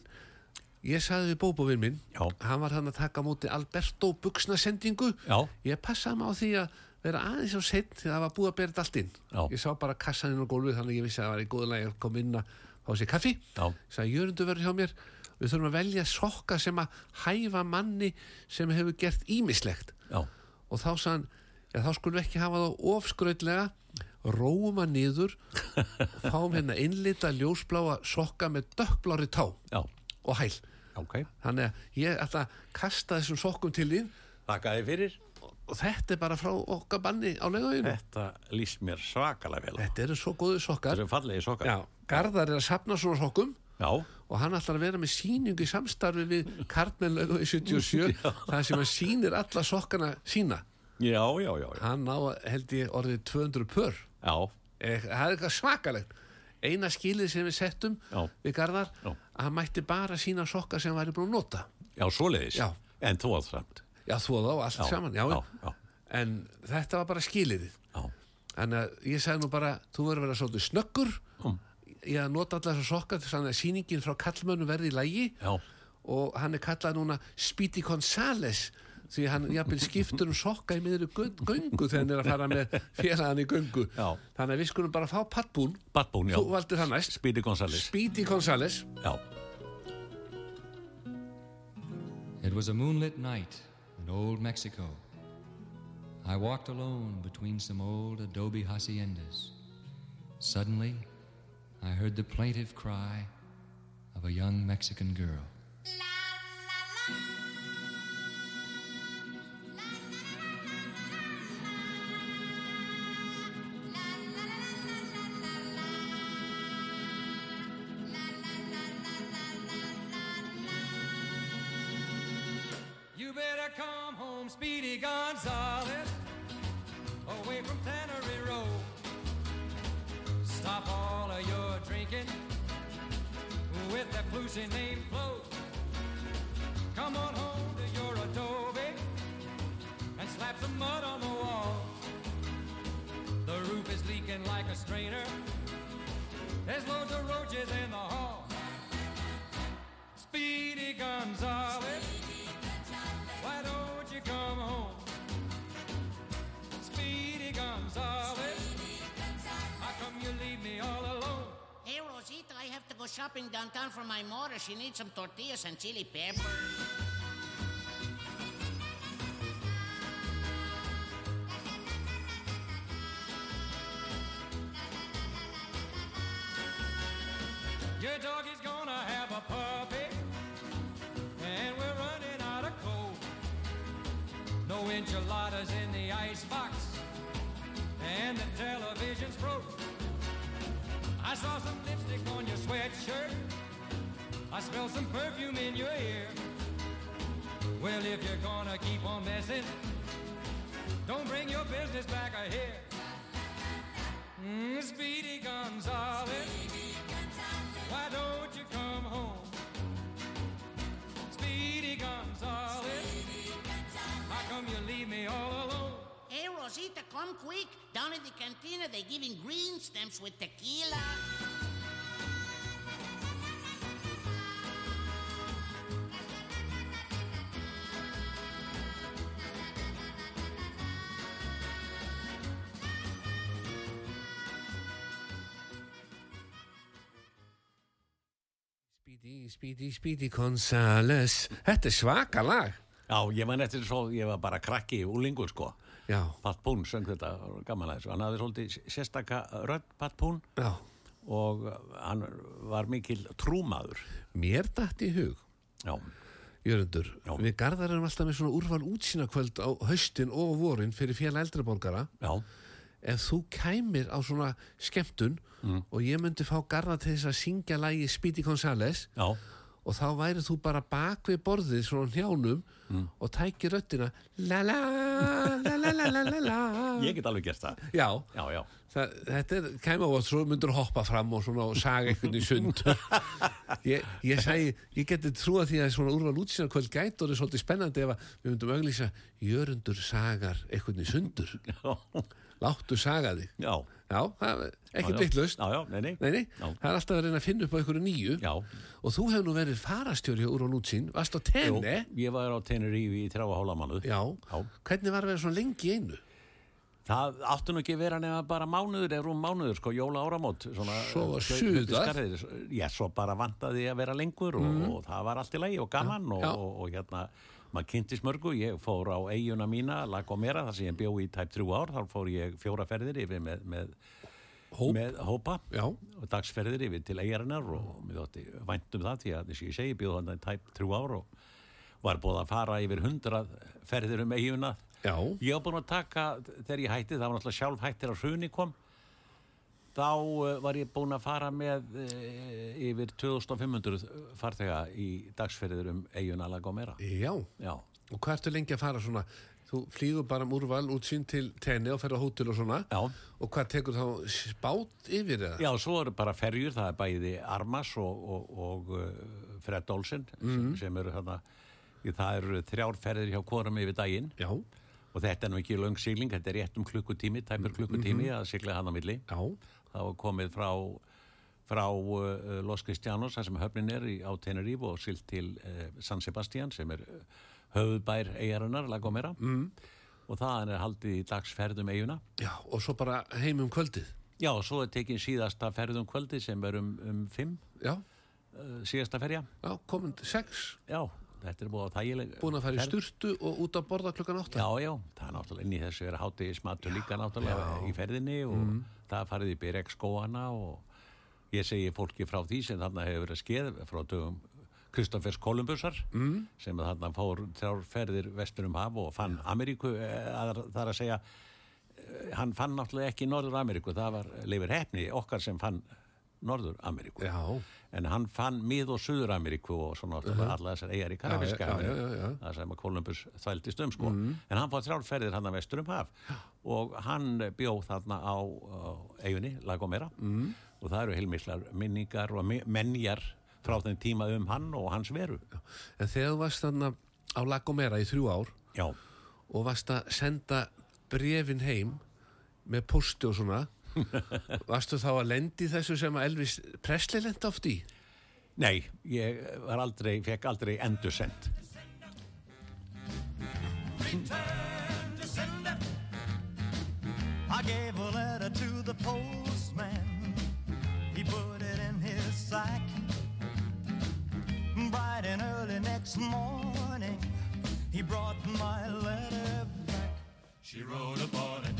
Speaker 2: ég sagði við bóbóvinn minn,
Speaker 4: Já.
Speaker 2: hann var hann að taka á móti Alberto buksnasendingu,
Speaker 4: já,
Speaker 2: ég passaði mig á því að vera aðeins á seitt því að það var búið að bera þetta allt inn
Speaker 4: Já.
Speaker 2: ég sá bara kassaninn á gólfið þannig að ég vissi að það var í góðu lagi að koma inn að fá sér kaffi
Speaker 4: Já.
Speaker 2: sagði Jörundu verður hjá mér við þurfum að velja sokka sem að hæfa manni sem hefur gert ímislegt
Speaker 4: já,
Speaker 2: og þá sagði hann já þá skulum við ekki hafa þá ofskrautlega róum að niður fáum hérna innlita ljósbláa sokka með dökkblári tá
Speaker 4: já,
Speaker 2: og hæl
Speaker 4: ok.
Speaker 2: þannig að ég ætla að kasta þessum sokkum til þín
Speaker 4: Þakka þið fyrir.
Speaker 2: og þetta er bara frá okkar banni á laugaveginu
Speaker 4: Þetta líst mér svakalega vel á.
Speaker 2: þetta eru svo góðu sokkar
Speaker 4: Þetta er fallegi sokkar.
Speaker 2: já, Garðar er að sapna svona sokkum
Speaker 4: já,
Speaker 2: og hann ætlar að vera með sýningu í samstarfi við Karmen laugaveg 77 það sem hann sýnir alla sokkana sína
Speaker 4: já, já, já, já,
Speaker 2: hann ná held ég orðið 200 pör
Speaker 4: já,
Speaker 2: Eh, það er eitthvað svakalegt eina skilið sem við settum
Speaker 4: Já.
Speaker 2: við Garðar
Speaker 4: Já.
Speaker 2: að hann mætti bara sína sokka sem hann væri búin að nota
Speaker 4: já, svoleiðis.
Speaker 2: Já.
Speaker 4: En þú að þramt.
Speaker 2: já þvoða og allt saman já,
Speaker 4: já, já,
Speaker 2: en þetta var bara skiliðið
Speaker 4: já,
Speaker 2: Þannig að ég sagði nú bara, þú verður að vera svolítið snöggur
Speaker 4: Mm.
Speaker 2: ég að nota allar þessar sokka þannig að sýningin frá kallmönnum verði í lægi
Speaker 4: já,
Speaker 2: og hann er kallað núna Speedy Gonzales því hann jafnvel skiptur um sokka í miður göngu þegar hann er að fara með félaghann í göngu
Speaker 4: Já.
Speaker 2: þannig að við skulum bara fá pattbún
Speaker 4: Batbún, já.
Speaker 2: þú valdir það næst
Speaker 4: Speedy Gonzales.
Speaker 2: Speedy Gonzales
Speaker 4: Já,
Speaker 7: It was a moonlit night in old Mexico. I walked alone between some old adobe haciendas. Suddenly, I heard the plaintive cry of a young Mexican girl. You better come home, Speedy Gonzales, away from Tannery Row. Stop all of your drinking with that Plucy name float. Come on home to your adobe and slap some mud on the wall. The roof is leaking like a strainer. There's loads of roaches in the hall. Speedy Gonzales. Why don't you come home? Speedy Gonzales. How come you leave me all alone?
Speaker 8: Hey, Rosita, I have to go shopping downtown for my mother. She needs some tortillas and chili pepper.
Speaker 7: Your dog is gonna have a puppy. And we're running out of cold. No enchiladas in the icebox. And the television's broke. I saw some lipstick on your sweatshirt. I smell some perfume in your ear. Well, if you're gonna keep on messing, don't bring your business back here. Mm, Speedy Gonzales. Why don't you come home? Speedy Gonzales. How come you leave me all alone?
Speaker 8: Hey, Rosita, come quick. Down in the cantina, they're giving green stamps with tequila.
Speaker 2: Speedy, Speedy, Speedy Gonzales þetta er svaka lag
Speaker 4: já, ég man eftir svo, ég var bara krakki úlingur, sko.
Speaker 2: já,
Speaker 4: Pat Boone söng þetta, gaman að þessu. Hann hafði svolítið sérstaka rödd Pat Boone
Speaker 2: já
Speaker 4: og uh, hann var mikil trúmaður.
Speaker 2: mér datt í hug
Speaker 4: Já,
Speaker 2: Jörundur,
Speaker 4: Já.
Speaker 2: við Garðar erum alltaf með svona úrval útsýna kvöld á haustin og vorin fyrir félag eldreborgara
Speaker 4: já,
Speaker 2: ef þú kæmir á svona skemmtun
Speaker 4: Mm.
Speaker 2: og ég myndi fá Garðar til þess að syngja lagi Speedy Gonzales
Speaker 4: já,
Speaker 2: og
Speaker 4: Mm.
Speaker 2: þá væri þú bara bak við borðið svona á hnjánum og tæki röddina la la la la la la la la
Speaker 4: Ég get alveg gert það.
Speaker 2: Já,
Speaker 4: Já, já.
Speaker 2: það, þetta er kæma og svo myndur hoppa fram og svona og saga einhvern í sund ég, ég segi, ég geti trúa því að svona úrval útsýna kvöld gæti og það er svolítið spennandi ef að við myndum auglýsa Jörundur sagar einhvern í sundur Láttu saga þig
Speaker 4: Já.
Speaker 2: Já, það er ekki
Speaker 4: Já, já.
Speaker 2: vitlaust
Speaker 4: Já, já, nei, nei.
Speaker 2: Nei, nei,
Speaker 4: Já.
Speaker 2: það er alltaf að reyna að finna upp á einhverju nýju
Speaker 4: Já.
Speaker 2: Og þú hefur nú verið farastjóri úr á nútsín Varst á tenni
Speaker 4: Jú, Ég var á Tenerife í þrjá og hálfa mánuð.
Speaker 2: Já.
Speaker 4: Já.
Speaker 2: Hvernig var að vera svona lengi í einu?
Speaker 4: Það áttu nú ekki að vera nema bara mánuður eða rúm mánuður, sko, jóla áramót. Svona,
Speaker 2: Svo var
Speaker 4: þau-
Speaker 2: suðað.
Speaker 4: þau skarðir. Já, svo bara vantaði að vera lengur og, og það var allt í lagi og gaman og,
Speaker 2: Mhm. Já.
Speaker 4: og, og hérna, maður kynntist mörgu. Ég fór á eiguna mína, La Gomera, þar sem ég bjó í tæp þrjú ár, þar fór ég fjóra ferðir yfir með, með,
Speaker 2: Hóp.
Speaker 4: með hópa
Speaker 2: Já.
Speaker 4: og dagsferðir yfir til eigarinnar og mér þótti vænt um það því að, þess að ég segi, bjóð hann tæp þrjú ár og var búið að fara yfir hundrað ferðir um eiguna.
Speaker 2: Já.
Speaker 4: Ég var búin að taka, þegar ég hætti, það var náttúrulega sjálf hættir að hruni kom, þá eh, var ég búin að fara með eh, yfir 2500 farþega í dagsferðir um eiguna La Gomera.
Speaker 2: Já,
Speaker 4: Já.
Speaker 2: og hvað ertu lengi að fara svona? Þú flýgur bara um úrval útsýn til tenni og ferð á hótel og svona
Speaker 4: Já.
Speaker 2: Og hvað tekur þá spát yfir eða?
Speaker 4: Já, svo eru bara ferjur, það er bæði Armas og, og, og eh, Fred Olsen
Speaker 2: Mhm.
Speaker 4: sem, sem eru þarna, í- það eru þrjár ferðir hjá korum yfir daginn
Speaker 2: Já,
Speaker 4: og þetta er nú ekki löng sigling, þetta er rétt um klukkutími, tæmur klukkutími að sigla hann á milli.
Speaker 2: Mhm. já,
Speaker 4: Það var komið frá, frá uh, Los Cristianos, þar sem höfnin er í, á Tenerife og silt til uh, San Sebastian sem er eh, höfuðbær eigarinnar, La Gomera. Mm. Og það er haldið í um dagsferðum eiguna.
Speaker 2: Mhm. já, og svo bara heim um kvöldið
Speaker 4: Já, og svo er tekin síðasta ferð um kvöldi sem er um, um fimm,
Speaker 2: Já,
Speaker 4: uh, síðasta ferja.
Speaker 2: já, komin sex,
Speaker 4: Já, þetta er búið á þægileg.
Speaker 2: búin að fara í
Speaker 4: ferð.
Speaker 2: sturtu og út að borða klukkan átta
Speaker 4: Já, já, það er náttúrulega inn í þessu er hátegismatur líka náttúrulega í ferðinni og
Speaker 2: Mm.
Speaker 4: það er farið í Byrek skóana og ég segi fólki frá því sem þarna hefur verið skeð frá dögum Kristoffers Kolumbusar mm. sem þarna fór þrjár ferðir vestur um haf og fann Ameríku, eh, að, það er að segja eh, hann fann náttúrulega ekki Norður Ameríku, það var Leifur Hefni okkar sem fann Norður Ameríku
Speaker 2: Já.
Speaker 4: en hann fann mið og Suður Ameríku og svona náttúrulega allar þessar eigar í Karabíska
Speaker 2: já, já,
Speaker 4: Ameríku.
Speaker 2: já, Mm. já.
Speaker 4: það sem að Columbus þvældist um sko. en hann fór þrjálferðir hann að vesturum um haf og hann bjó þarna á, á eigunni, Lagomera mm. og það eru heilmiklar minningar og mi- menjar frá þeim tíma um hann og hans veru
Speaker 2: En þegar þú varst þarna á Lagomera í þrjú ár
Speaker 4: já,
Speaker 2: og varst að senda brefin heim með posti og svona varstu þá að lendi þessu sem að Elvis Presley lendi oft í?
Speaker 4: nei, ég var aldrei fekk aldrei endursend
Speaker 9: Return to sender. I gave a letter to the postman. He put it in his sack. Bright and early next morning, he brought my letter back. She wrote upon it.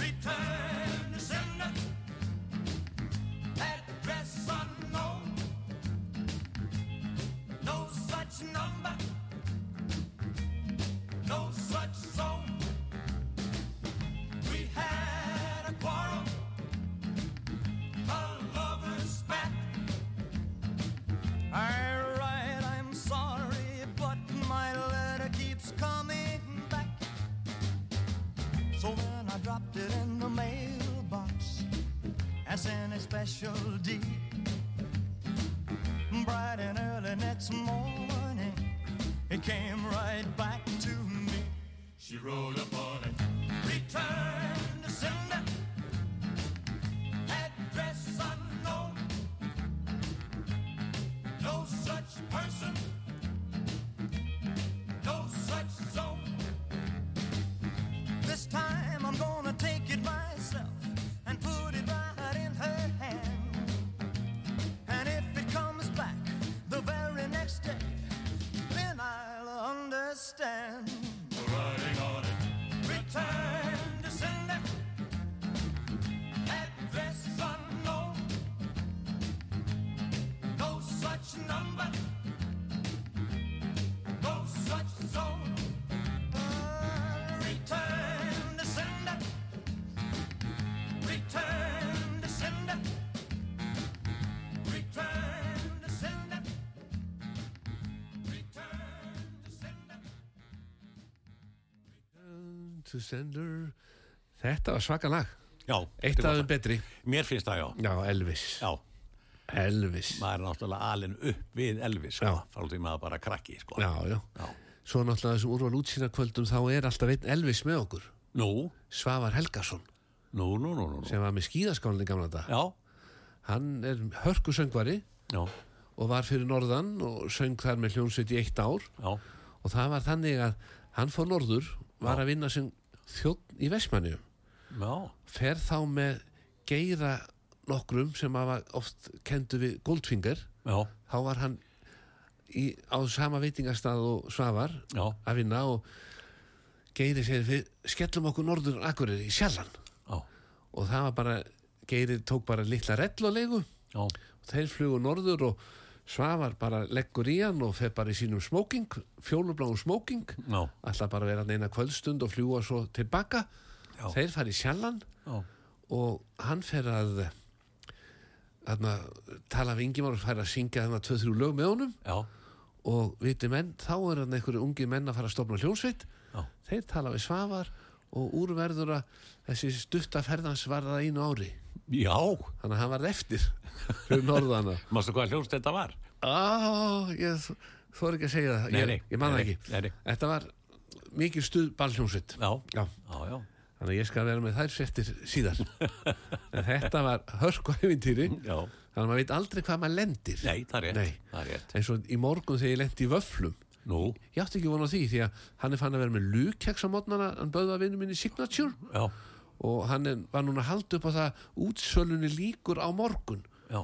Speaker 9: Return to sender. Address unknown. No such number no such zone. We had a quarrel, a lover's spat. Alright, I'm sorry, but my letter keeps coming back. So then I dropped it in the mailbox as in a special deed. Bright and early next morning, it came right back to me. She wrote upon it. Return to sender. Address unknown. No such person. No such zone. This time I'm gonna take it myself and put it right in her hand. And if it comes back the very next day, then I'll understand. We're riding on it. Return
Speaker 2: to sender Þetta var svaka lag
Speaker 4: Já,
Speaker 2: Eitt
Speaker 4: þetta var
Speaker 2: af þeim
Speaker 4: það.
Speaker 2: betri
Speaker 4: Mér finnst það, já.
Speaker 2: Já, Elvis
Speaker 4: Já,
Speaker 2: Elvis
Speaker 4: maður er náttúrulega alinn upp við Elvis, sko,
Speaker 2: Já.
Speaker 4: frá því maður bara krakki, sko.
Speaker 2: Já, já
Speaker 4: Já.
Speaker 2: Svo náttúrulega þessum úrval útsýna kvöldum þá er alltaf einn Elvis með okkur
Speaker 4: Nú,
Speaker 2: Svavar Helgason
Speaker 4: nú, nú, nú, nú, nú.
Speaker 2: sem var með skíðaskálinn í gamla dag
Speaker 4: Já,
Speaker 2: Hann er hörkusöngvari
Speaker 4: já,
Speaker 2: og var fyrir norðan og söng þar með hljónsveit í eitt ár
Speaker 4: já,
Speaker 2: og það var þannig að hann fór norður var að vinna sem þjótt í Vestmannium
Speaker 4: já,
Speaker 2: fer þá með geira nokkrum sem hafa oft kendu við Goldfinger
Speaker 4: já,
Speaker 2: þá var hann í, á sama veitingastað og Svavar
Speaker 4: já,
Speaker 2: að vinna og Geiri segir við skellum okkur norður akkurir í sjallan
Speaker 4: já,
Speaker 2: og það var bara Geiri tók bara litla rellalegu
Speaker 4: já,
Speaker 2: og þeir flugu norður og Svavar bara leggur í hann og fer bara í sínum smoking, fjólubláum smoking
Speaker 4: já,
Speaker 2: alltaf bara að vera hann eina kvöldstund og fljúa svo tilbaka
Speaker 4: Já.
Speaker 2: þeir fara í sjallan
Speaker 4: já,
Speaker 2: og hann fer að þarna, tala við Ingimar og fær að syngja þarna 2-3 lög með honum
Speaker 4: já,
Speaker 2: og viti menn, þá er hann einhverju ungi menn að fara að stofna hljónsveit
Speaker 4: Já.
Speaker 2: þeir tala við Svavar og úrverður að þessi stutta ferðans var það einu ári
Speaker 4: já,
Speaker 2: þannig að hann var eftir fyrir norðana
Speaker 4: mástu hvað hljóst þetta var?
Speaker 2: Á, ég þ- þor ekki að segja það
Speaker 4: Nei,
Speaker 2: ég,
Speaker 4: nei,
Speaker 2: ég man það
Speaker 4: nei,
Speaker 2: ekki
Speaker 4: nei, nei.
Speaker 2: þetta var mikið stuð ballhljónsveit
Speaker 4: Já,
Speaker 2: Já.
Speaker 4: já, já,
Speaker 2: þannig að ég skal vera með þær settir síðar en þetta var hörku æfintýri
Speaker 4: já,
Speaker 2: þannig að maður veit aldrei hvað maður lendir
Speaker 4: nei, það er rétt,
Speaker 2: Nei.
Speaker 4: það er rétt.
Speaker 2: eins og í morgun þegar ég lendi í vöflum
Speaker 4: Nú,
Speaker 2: ég átti ekki vona því því að hann er fann að vera með lukeks á mótnana hann bauða vinnu minni Signature
Speaker 4: já,
Speaker 2: og hann er, var núna að halda upp á það útsölunni líkur á morgun
Speaker 4: já,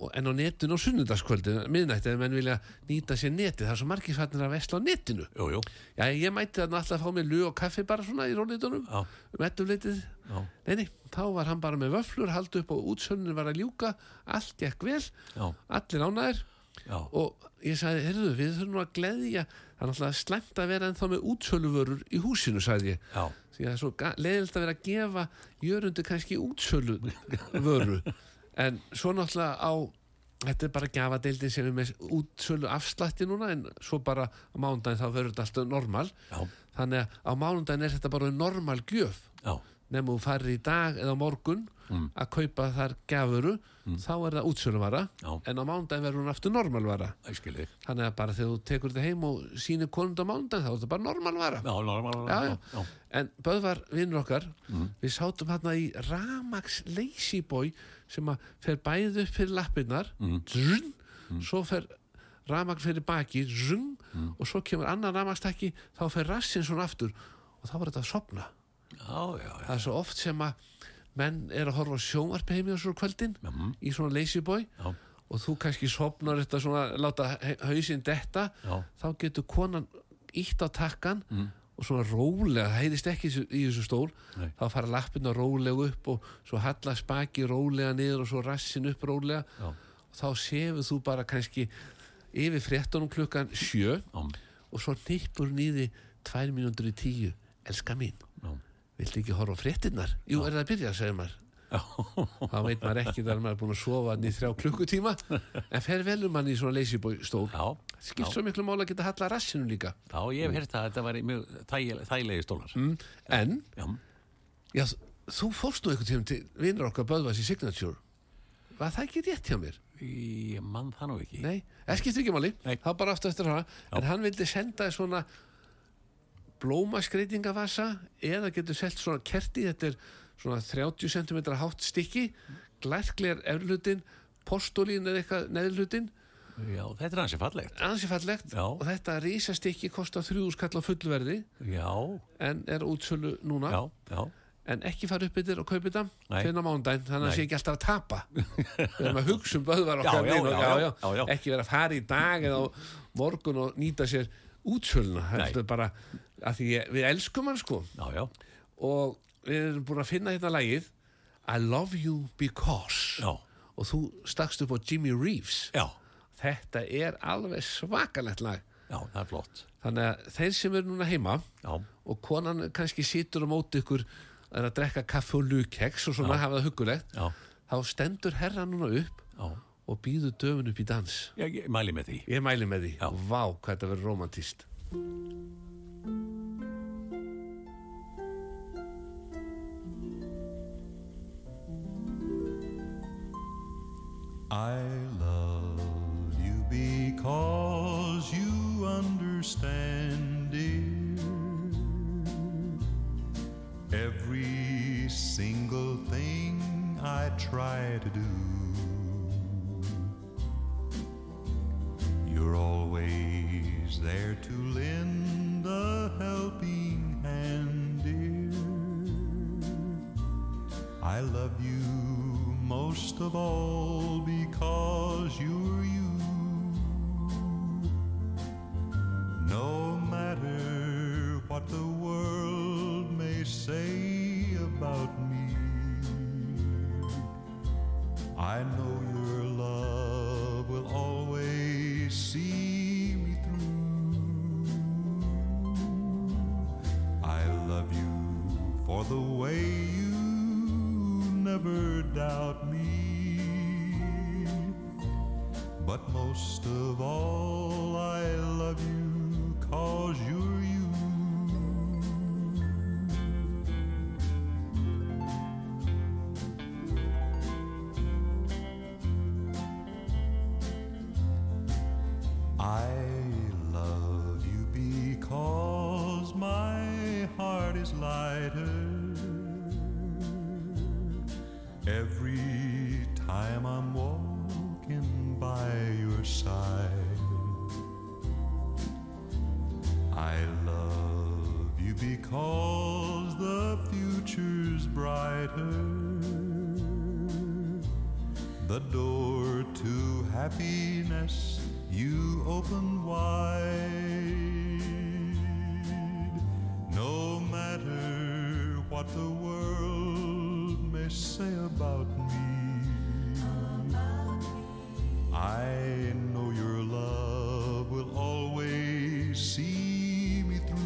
Speaker 2: og, en á netinu á sunnudagskvöldin miðnætti ef menn vilja nýta sér netið það er svo margir fannir að vesla á netinu
Speaker 4: jú, jú,
Speaker 2: já ég mætti þarna alltaf að fá mér lug og kaffi bara svona í rólitunum
Speaker 4: já,
Speaker 2: um ettulitið
Speaker 4: já,
Speaker 2: neini, þá var hann bara með vöflur halda upp á útsölunni var að ljúka allt gekk vel,
Speaker 4: já,
Speaker 2: allir ánæðir
Speaker 4: já,
Speaker 2: og ég sagði, heyrðu, við þurfum nú að gleðja það er náttúrulega slæmt að vera ennþá með útsöluvörur í húsinu, sagði ég
Speaker 4: já,
Speaker 2: því að það er svo ga- leiðilt að vera að gefa jörundu kannski útsöluvöru en svo náttúrulega á þetta er bara gafadeildin sem er með útsölu afslætti núna en svo bara á mánudaginn þá verður þetta alltaf normal
Speaker 4: já,
Speaker 2: þannig að á mánudaginn er þetta bara normal gjöf
Speaker 4: já, Mm.
Speaker 2: nefnum þú farir í dag eða á morgun að kaupa þar gafuru þá er það útsöluvara
Speaker 4: Já.
Speaker 2: en á mánudaginn verður hún aftur normalvara
Speaker 4: ég skil þig.
Speaker 2: Þannig að bara þegar þú tekur þetta heim og sýnir konund á mándan þá er þetta bara normal vara.
Speaker 4: Já, normal,
Speaker 2: Já,
Speaker 4: já,
Speaker 2: já.
Speaker 4: já, Mhm.
Speaker 2: En Böðvar, vinnur okkar, við sátum hérna í Ramax Lazy Boy sem að fer bæði upp fyrir lappirnar,
Speaker 4: Mhm.
Speaker 2: zrn, svo fer Ramax fyrir baki, zrn,
Speaker 4: Mhm.
Speaker 2: og svo kemur annar Ramax-takki, þá fer rassinn svona aftur og þá var þetta að sopna.
Speaker 4: já, já, já,
Speaker 2: Það er svo oft sem að menn er að horfa á sjónvarpi heimi á svona kvöldin
Speaker 4: Mhm.
Speaker 2: í svona Lazy Boy
Speaker 4: Já.
Speaker 2: og þú kannski sopnar þetta svona láta he- hausinn detta
Speaker 4: Já. Mm.
Speaker 2: þá getur konan ítt á takkan og svona rólega, það heyrist ekki í þessu- í þessu stól
Speaker 4: Nei.
Speaker 2: þá fara lappina rólega upp og svo hallast baki rólega niður og svo rassin upp rólega
Speaker 4: Já.
Speaker 2: og þá sefur þú bara kannski yfir fréttunum klukkan sjö
Speaker 4: já,
Speaker 2: og svo nýppur nýði tvær mínútur í tíu, elska mín
Speaker 4: já.
Speaker 2: Viltu ekki horfa á fréttinnar? Jú, er það að byrja, segir maður. Þá veit maður ekki þar maður er búin að sofa hann í þrjá klukkutíma. En fer velur mann í svona leysibóstól.
Speaker 4: Já,
Speaker 2: Skipt
Speaker 4: já.
Speaker 2: svo miklu mál að geta halla rassinu líka.
Speaker 4: Já, ég hef hérst að þetta var mjög þægile- þægilegi stólar.
Speaker 2: Mm. En,
Speaker 4: Já,
Speaker 2: já, þú fórst nú einhvern tíma til vinnur okkar Böðvars í Signature. Var það ekki rétt hjá mér?
Speaker 4: ég mann það nú ekki.
Speaker 2: Nei, það skiptir ekki máli.
Speaker 4: Nei.
Speaker 2: Það var bara aftur eftir hana.
Speaker 4: Já.
Speaker 2: En hann vildi senda þér svona blómaskreitingavasa eða getur selt svona kerti, þetta er svona 30 cm hátt stykki, glærklegar eflutin, postulín eða eitthvað neðlutin,
Speaker 4: Já, þetta er hansi fallegt.
Speaker 2: ansi fallegt
Speaker 4: Já.
Speaker 2: og þetta risastykki kostar 3000 kall á fullverði
Speaker 4: Já,
Speaker 2: en er á útsölu núna
Speaker 4: já, já,
Speaker 2: en ekki fara upp yfir og kaupa þetta
Speaker 4: Nei.
Speaker 2: fyrir mándaginn, þannig að
Speaker 4: Nei.
Speaker 2: sé ekki alltaf að tapa við erum að hugsa um böðvar
Speaker 4: Já,
Speaker 2: okkar
Speaker 4: já,
Speaker 2: núna,
Speaker 4: já, já, já, já.
Speaker 2: ekki vera að fara í dag eða á morgun og nýta sér útsöluna þetta er bara að því ég, við elskum hann sko
Speaker 4: já, já,
Speaker 2: og við erum búin að finna hérna lagið I love you because
Speaker 4: já,
Speaker 2: og þú stakst upp á Jimmy Reeves
Speaker 4: já,
Speaker 2: þetta er alveg svakalegt lag
Speaker 4: já, það er flott.
Speaker 2: þannig að þeir sem eru núna heima
Speaker 4: Já,
Speaker 2: og konan kannski situr á móti ykkur er að drekka kaffi og lukeks og svona hafa það huggulegt
Speaker 4: já,
Speaker 2: þá stendur herra núna upp
Speaker 4: já,
Speaker 2: og býður döfun upp í dans
Speaker 4: já, ég mæli með því.
Speaker 2: ég mæli með því,
Speaker 4: Já.
Speaker 2: vá hvað þetta verður romantíst
Speaker 6: I
Speaker 10: I love you because you understand, dear. Every single thing I try to do, you're always there to lend a helping hand, dear. I love you most of all because you're you. No matter what the world may say about me, I know your love will always see me through. I love you for the way you never doubt me. But most of all, I love you cause you're you. I love you because my heart is lighter every time I'm walking by your side. I love you because the future's brighter. The door to happiness you open wide. No matter what the world may say about me, I know your love will always see me through.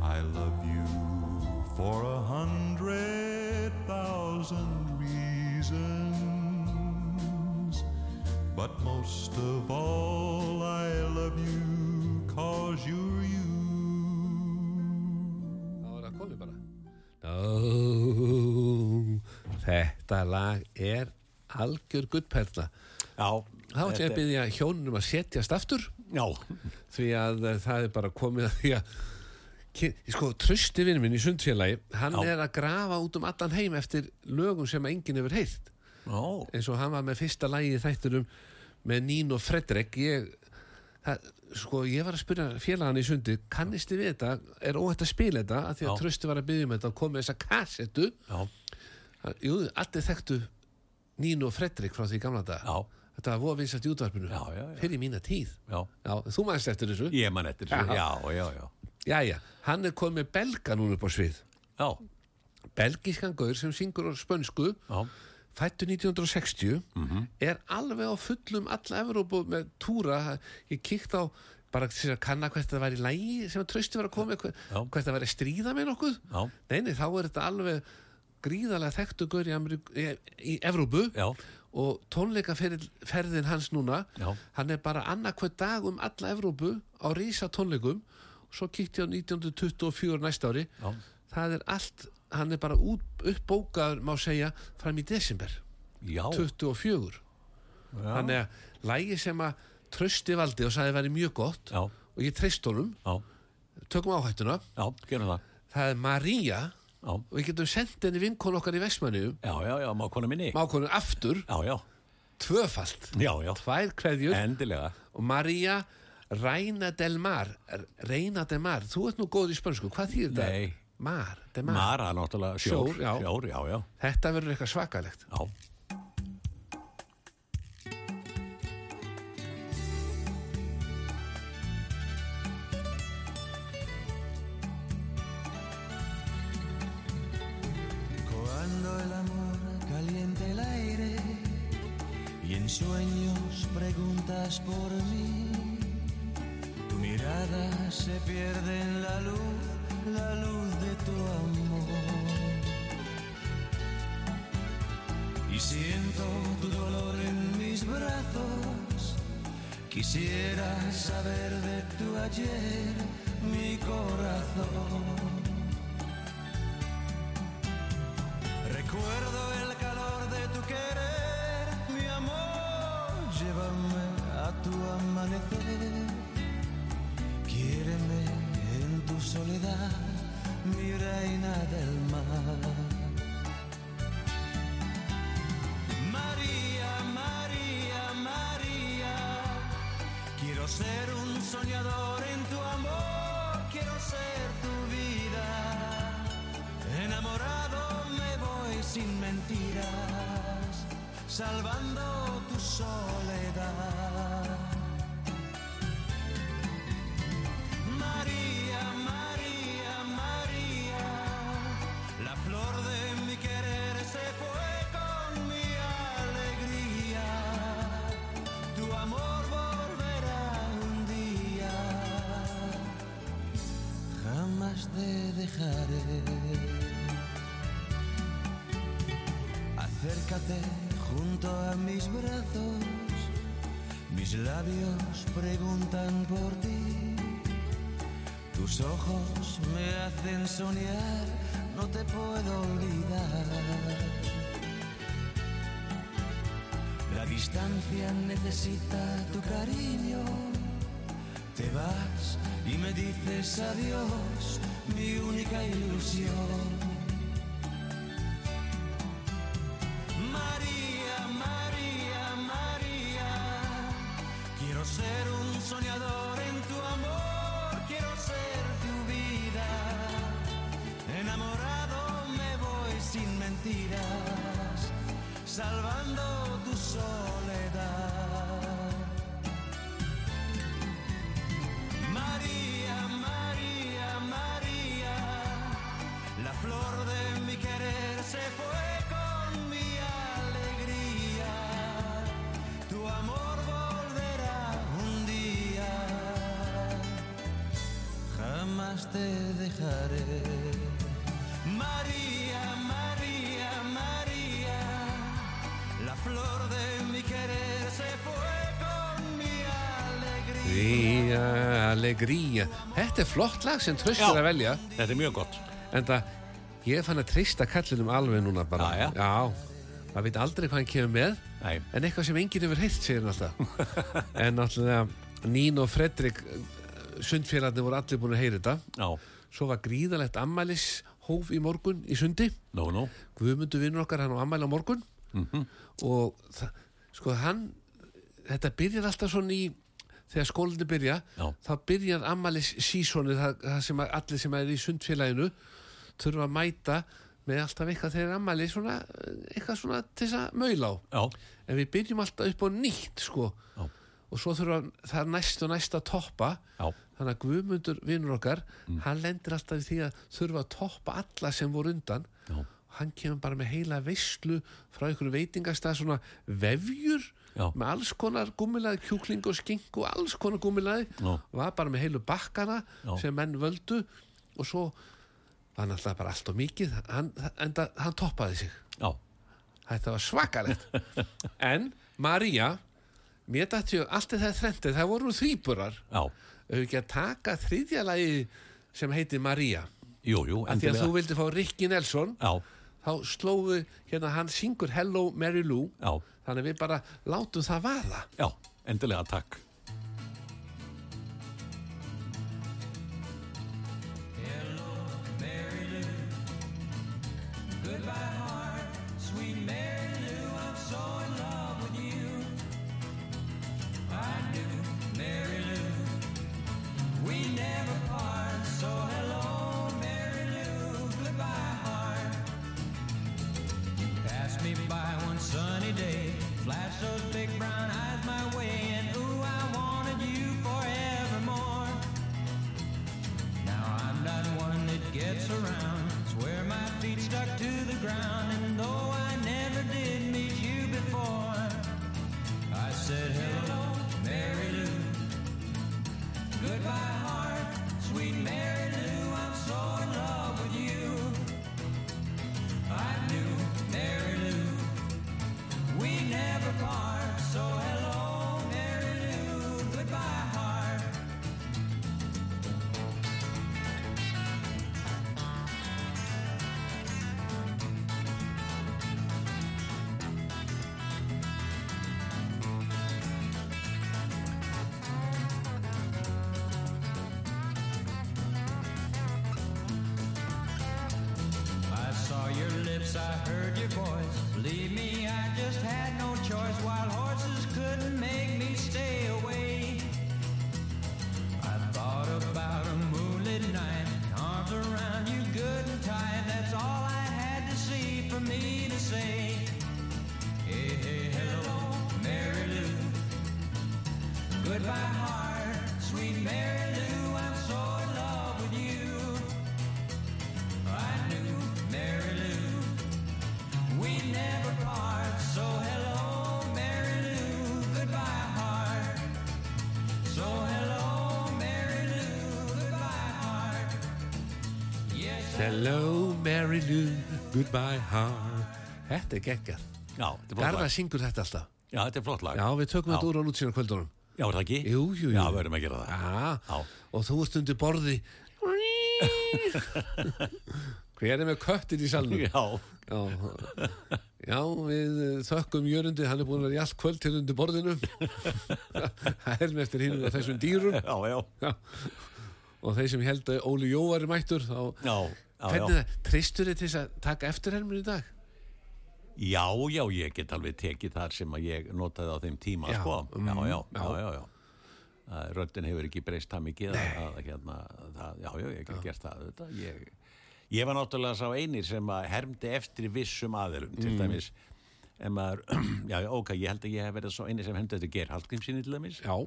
Speaker 10: I love you for a hundred thousand reasons. But most of all, I love you cause you're you.
Speaker 2: Það var að komi bara. Nó, þetta lag er algjör guttperla.
Speaker 4: Já.
Speaker 2: Þá ætti ég
Speaker 4: þetta
Speaker 2: að byggja hjónunum að setjast aftur
Speaker 4: er- Já,
Speaker 2: því að eh, það er bara komið að því að Ki- sko, trösti vinnum minn í sundfélagi hann
Speaker 4: Já.
Speaker 2: er að grafa út um allan heim eftir lögum sem enginn hefur heyrt
Speaker 4: já,
Speaker 2: eins og hann var með fyrsta lagi í þættunum með Nín og Fredrik ég, það, sko, ég var að spyrja félagann í sundi, kannist þið við þetta er óhætt að spila þetta að því að
Speaker 4: Já.
Speaker 2: trösti var að byggja um þetta og komið þessa kassettu
Speaker 4: já,
Speaker 2: Hann- jú, allir þekktu Nín og Fredrik frá því í gamla dag
Speaker 4: Já.
Speaker 2: þetta var voða vinsælt í útvarpinu
Speaker 4: Já, já, já.
Speaker 2: fyrir mína tíð
Speaker 4: já.
Speaker 2: já, þú maður eftir þessu
Speaker 4: Ég man eftir þessu, já, já, já.
Speaker 2: Jæja, hann er komið með belga núna upp á svið.
Speaker 4: Já,
Speaker 2: Belgískan gaur sem syngur á spönsku,
Speaker 4: já,
Speaker 2: fættu 1960, er alveg á fullum alla Evrópu með túra. Ég kíkt á bara til að kanna hvert það væri lægi sem að trösti var að koma, með, hver-
Speaker 4: Já.
Speaker 2: hvert það væri að stríða með nokkuð.
Speaker 4: já,
Speaker 2: Nei, nei, þá er þetta alveg gríðarlega þekktu gaur í, Ameríku, í, í Evrópu
Speaker 4: já,
Speaker 2: og tónleikaferðin hans núna
Speaker 4: Já.
Speaker 2: hann er bara annarkvæð dag um alla Evrópu á rísa tónleikum svo kíkti ég á 1924 næsta ári
Speaker 4: Já.
Speaker 2: það er allt hann er bara út, uppbókaður má segja fram í desember
Speaker 4: já.
Speaker 2: 24 þannig að lægi sem að trösti valdi og sagði væri mjög gott
Speaker 4: Já,
Speaker 2: og ég treyst honum,
Speaker 4: já,
Speaker 2: tökum áhættuna
Speaker 4: já, gerum það.
Speaker 2: það er María
Speaker 4: Já,
Speaker 2: og við getum sendt henni vinkon okkar í Vestmanniðum
Speaker 4: já, já, já, má konu minni.
Speaker 2: mákonum aftur,
Speaker 4: Já, já,
Speaker 2: tvöfalt
Speaker 4: já, já,
Speaker 2: tvær kveðjur
Speaker 4: endilega.
Speaker 2: og María Reina del Mar Reina del Mar, þú ert nú góð í spönsku hvað þýðir þetta?
Speaker 4: Nei.
Speaker 2: Mar, del Mar.
Speaker 4: Mara, náttúrulega, sjór.
Speaker 2: Sjór, já.
Speaker 4: Sjór, já, já,
Speaker 2: Þetta verður eitthvað svakalegt
Speaker 4: já.
Speaker 5: Cuando el amor caliente el aire y en sueños preguntas por mí, tu mirada se pierde en la luz, la luz de tu amor. Y siento tu dolor en mis brazos, quisiera saber de tu ayer, mi corazón. Recuerdo el calor
Speaker 11: mi reina del mar. María, María, María, quiero ser un soñador en tu amor, quiero ser tu vida. Enamorado me voy sin mentiras, salvando tu soledad. María, María, María, la flor de mi querer se fue con mi alegría. Tu amor volverá un día, jamás te dejaré. Acércate junto a mis brazos, mis labios preguntan por ti. Tus ojos me hacen soñar, no te puedo olvidar. La distancia necesita tu cariño. Te vas y me dices adiós, mi única ilusión. María, María, María. Quiero ser un soñador en tu amor, quiero ser tu vida. Enamorado me voy sin mentiras, salvando tu soledad. María, María, María. La flor de mi querer se fue con mi alegría. Tu amor volverá un día. Jamás te dejaré. María, María, María. La flor de mi querer se fue con mi alegría.
Speaker 2: Ría, alegría Þetta er flott lag sem tröstur
Speaker 4: Já.
Speaker 2: að velja
Speaker 4: Þetta er mjög gott.
Speaker 2: En það ég fann að treysta kallinum alveg núna bara
Speaker 4: Já, já.
Speaker 2: Já, maður veit aldrei hvað hann kemur með
Speaker 4: Nei.
Speaker 2: En eitthvað sem enginn hefur heilt segir hann alltaf En náttúrulega Nín og Fredrik eh, Sundfélagarnir voru allir búin að heyra þetta
Speaker 4: Já.
Speaker 2: Svo var gríðalegt ammælis hóf í morgun í sundi
Speaker 4: Nú, nú. Mhm.
Speaker 2: Guðmundur vinnur okkar hann á ammæli á morgun og það, sko hann þetta byrjar alltaf svona í þegar skólinu byrja
Speaker 4: Já.
Speaker 2: þá byrjar ammælis sísoni það, það sem að, allir sem er í sundfélaginu þurfa að mæta með alltaf eitthvað þegar ammæli svona, eitthvað svona til þess að maula á
Speaker 4: Já.
Speaker 2: en við byrjum alltaf upp á nýtt sko
Speaker 4: Já.
Speaker 2: og svo þurfa það er næst og næst að toppa
Speaker 4: Já. Mm.
Speaker 2: þannig að Guðmundur vinnur okkar hann lendir alltaf í því að þurfa að toppa alla sem voru undan
Speaker 4: Já.
Speaker 2: hann kemur bara með heila veislu frá einhverju veitingastað svona vefjur
Speaker 4: Já.
Speaker 2: með alls konar gummilaði kjúkling og skink og alls konar gummilaði
Speaker 4: Já.
Speaker 2: var bara með heilu bakkana
Speaker 4: Já.
Speaker 2: sem menn völdu og svo var náttúrulega bara allt og mikið hann, en það, hann toppaði sig
Speaker 4: Já.
Speaker 2: Þetta var svakalegt En María Mér dætti ég allt þetta þrendi Það voru þrýburar
Speaker 4: Já.
Speaker 2: Þau ekki að taka þriðja lagi sem heiti María
Speaker 4: Jú, jú.
Speaker 2: að Því að
Speaker 4: endilega.
Speaker 2: þú vildi fá Rikki Nelson
Speaker 4: Já.
Speaker 2: Þá slóðu hérna hann syngur Hello Mary Lou
Speaker 4: Já.
Speaker 2: Þannig að við bara látum það vaða
Speaker 4: Já. Endilega, takk.
Speaker 11: Passed me by one sunny day, flashed those big brown eyes my way, and ooh, I I heard your voice. Believe me, I just had no choice. Wild horses couldn't make me stay away. I thought about a moonlit night, arms around you good and tight. That's all I had to see for me to say. Hey, hey, hello, Mary Lou. Goodbye, heart, sweet Mary Lou. I'm so in love with you. I knew Mary Lou. We never part. So hello, Mary Lou. Goodbye, heart. So hello, Mary Lou. Goodbye, heart. Yes,
Speaker 2: Hello Mary Lou, goodbye heart Þetta er geggjað
Speaker 4: Já, þetta er flott
Speaker 2: Garða
Speaker 4: lag.
Speaker 2: syngur þetta alltaf
Speaker 4: Já, þetta er flott lag.
Speaker 2: Já, við tökum
Speaker 4: Já.
Speaker 2: þetta úr á lútsina kvöldunum
Speaker 4: Já, er það ekki?
Speaker 2: Jú, jú, jú.
Speaker 4: Já, við verðum að gera það.
Speaker 2: Já,
Speaker 4: Já.
Speaker 2: og þú ert undir borði Hver er með köttin í salnum?
Speaker 4: Já,
Speaker 2: Já, já við eh, þökkum Jörundi, hann er búin að vera í allt kvöld til undir borðinu Það er með eftir hinn og þessum dýrum
Speaker 4: já, já.
Speaker 2: Já. og þeir sem held að Óli Jó var mættur þá,
Speaker 4: Já, já,
Speaker 2: hvernig
Speaker 4: já.
Speaker 2: það, tristur þið til þess að taka eftir helmur í dag?
Speaker 4: Já, já, ég get alveg tekið þar sem að ég notaði á þeim tíma,
Speaker 2: Já,
Speaker 4: sko. Já,
Speaker 2: mm,
Speaker 4: já,
Speaker 2: já.
Speaker 4: já, já, já. Að Röddin hefur ekki breyst það mikið að, að hérna, það, já, já, ég get gert það, þetta, ég... Ég var náttúrulega sá einir sem að hermdi eftir vissum aðilum, til
Speaker 2: Mm.
Speaker 4: dæmis, en maður, já, já, ok, ég held að ég hef verið sá einir sem hermdi eftir Geir Hallgrímsinni til dæmis,
Speaker 2: Já,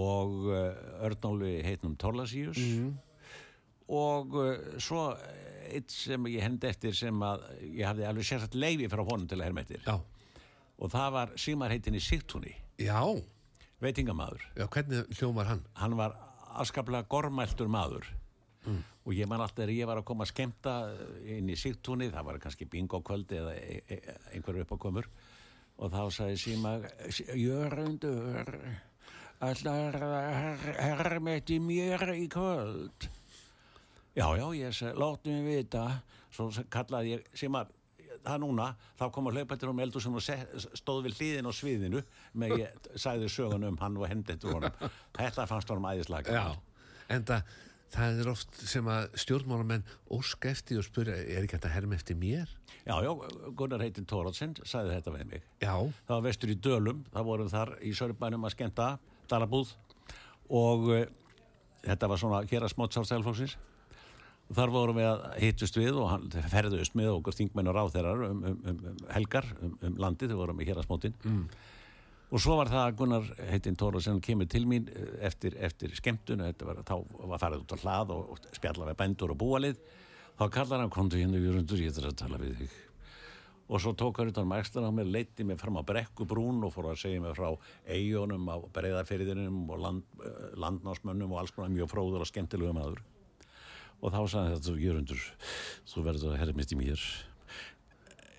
Speaker 4: og uh, Örnólu heitnum Torlasíus
Speaker 2: Mm.
Speaker 4: og uh, svo eitt sem ég hendi eftir sem að ég hafði alveg sérstætt leifi frá honum til að herma eftir
Speaker 2: já,
Speaker 4: og það var Sigmar heitinni Sigtúni
Speaker 2: já,
Speaker 4: veitingamaður,
Speaker 2: já hvernig hljómar hann?
Speaker 4: hann var afskaplega gormæltur maður og ég man alltaf þegar ég var að koma að skemmta eh, inn í Sigtúni, það var kannski bingo kvöldi eða e- e- einhverju uppakomur og þá sagði Sigmar Jörundur allar hermet í mér í kvöld Já, já, ég segi, láttu mig vita Svo se- kallaði ég, sem að það núna, þá kom að hlaupa eftir um eldur sem stóð við hliðin á sviðinu með ég sagði sögun um hann og hendi eftir honum. Þetta fannst honum æðislega
Speaker 2: Já,
Speaker 4: gaman.
Speaker 2: en það, það er oft sem að stjórnmálamenn óska eftir og spurja, er ekki þetta herm eftir mér?
Speaker 4: já, já, Gunnar heitin Tóraðsson sagði þetta við mig.
Speaker 2: Já,
Speaker 4: Það var vestur í Dölum, það vorum þar í Sörbænum að skemmta, Dalabúð og uh, þetta var svona hér að smátt sálstælflóksins þar vorum við að hittust við og hann ferðust með okkur þingmenn og ráþeirar um, um, um, um helgar, um, um landið þau vorum við hér að smáttin mm. og svo var það að Gunnar heitinn Tóra sem kemur til mín eh, eftir, eftir skemmtun og þetta var, þá var farið út á hlað og, og spjalla með bændur og búalið þá kallar hann komdu hérna Jörundur, ég þarf að tala við þig og svo tók hann utan mækslan á mér, leiti mig fram á brekkubrún og fór að segja mig frá eigunum á breyðarferðinum og land, eh, landnámsmönnum og alls konar mjög fróður og skemmtilegu maður og þá sagði þetta svo Jörundur þú verður að herra mitt í mér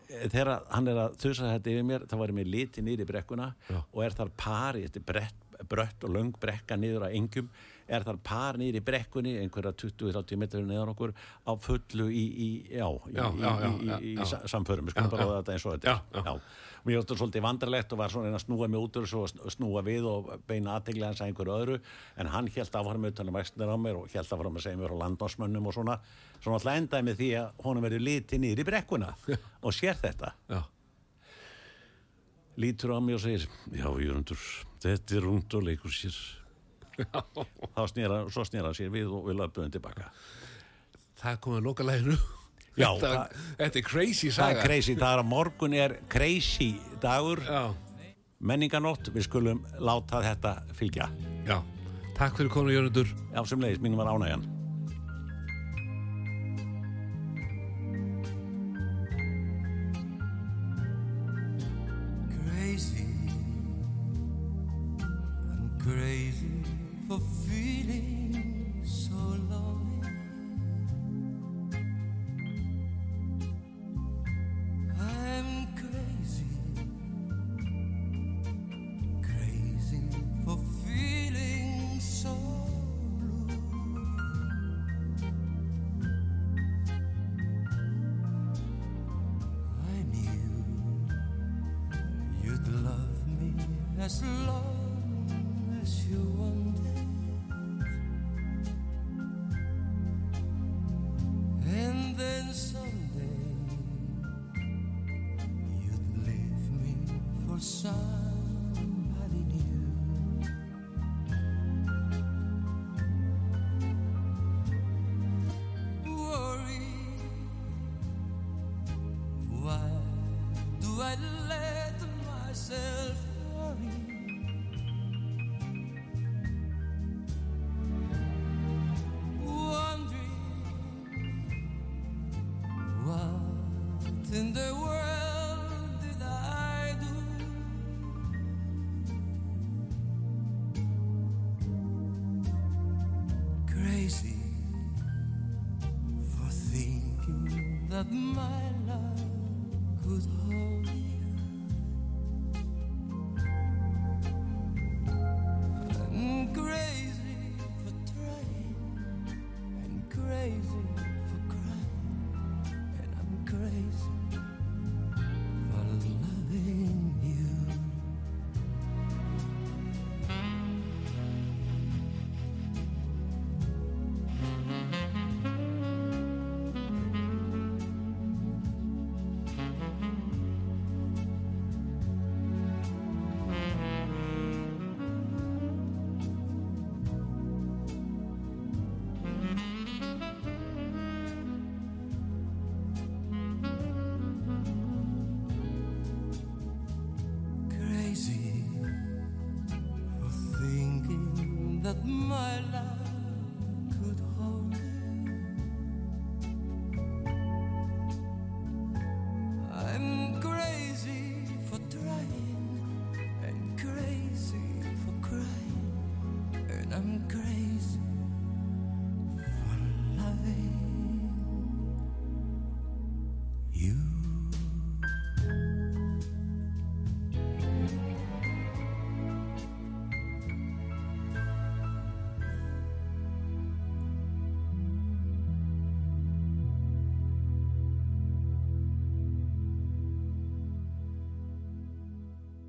Speaker 4: Eh, þegar að hann er að þusa þetta yfir mér þá var ég með liti niður í brekkuna og er þar par í þetta brett, brött og löng brekka niður á engjum er þar par niður í brekkunni einhverja 20-30 metrar neðan okkur á fullu í, í já, í,
Speaker 2: Já,
Speaker 4: í,
Speaker 2: já, já,
Speaker 4: í, í,
Speaker 2: já.
Speaker 4: í sa- samförum, við skulum bara
Speaker 2: já.
Speaker 4: orða þetta eins og þetta er.
Speaker 2: Já, já.
Speaker 4: já. Mér var þetta svolítið vandralegt og var svona að reyna að snúa mig út úr þessu og sn- snúa við og beina aðteglega hans að einhverju öðru en hann held áfram utan að vextnir á mér og held áfram að segja mér frá landásmönnum og svona svona alltaf endaði með því að honum verður litið niður í brekkuna og sér þetta
Speaker 2: já,
Speaker 4: lítur á mig og segir já, Jörundur, þetta er rungt og leikur sér þá snýra, svo snýra hann sér við og við löpum tilbaka
Speaker 2: það komið að loka læginu.
Speaker 4: Já,
Speaker 2: þetta,
Speaker 4: það-
Speaker 2: þetta er crazy
Speaker 4: það er
Speaker 2: saga.
Speaker 4: crazy, það er að morgun er crazy dagur
Speaker 2: Já,
Speaker 4: menninganótt, við skulum láta þetta fylgja.
Speaker 2: já, takk fyrir konu Jörundur.
Speaker 4: Já, sem leiðis, mínum var ánægjan.
Speaker 11: crazy. I'm crazy for feeling so lonely. I'm crazy, crazy for feeling so blue. I knew You'd love me as long as you wanted. And then someday of somebody new. Worry, why do I let myself worry? Wondering what in the world did I do? Crazy for thinking that my love could hold you. And crazy for trying and crazy for crying, and I'm crazy for loving you. Crazy for thinking that my love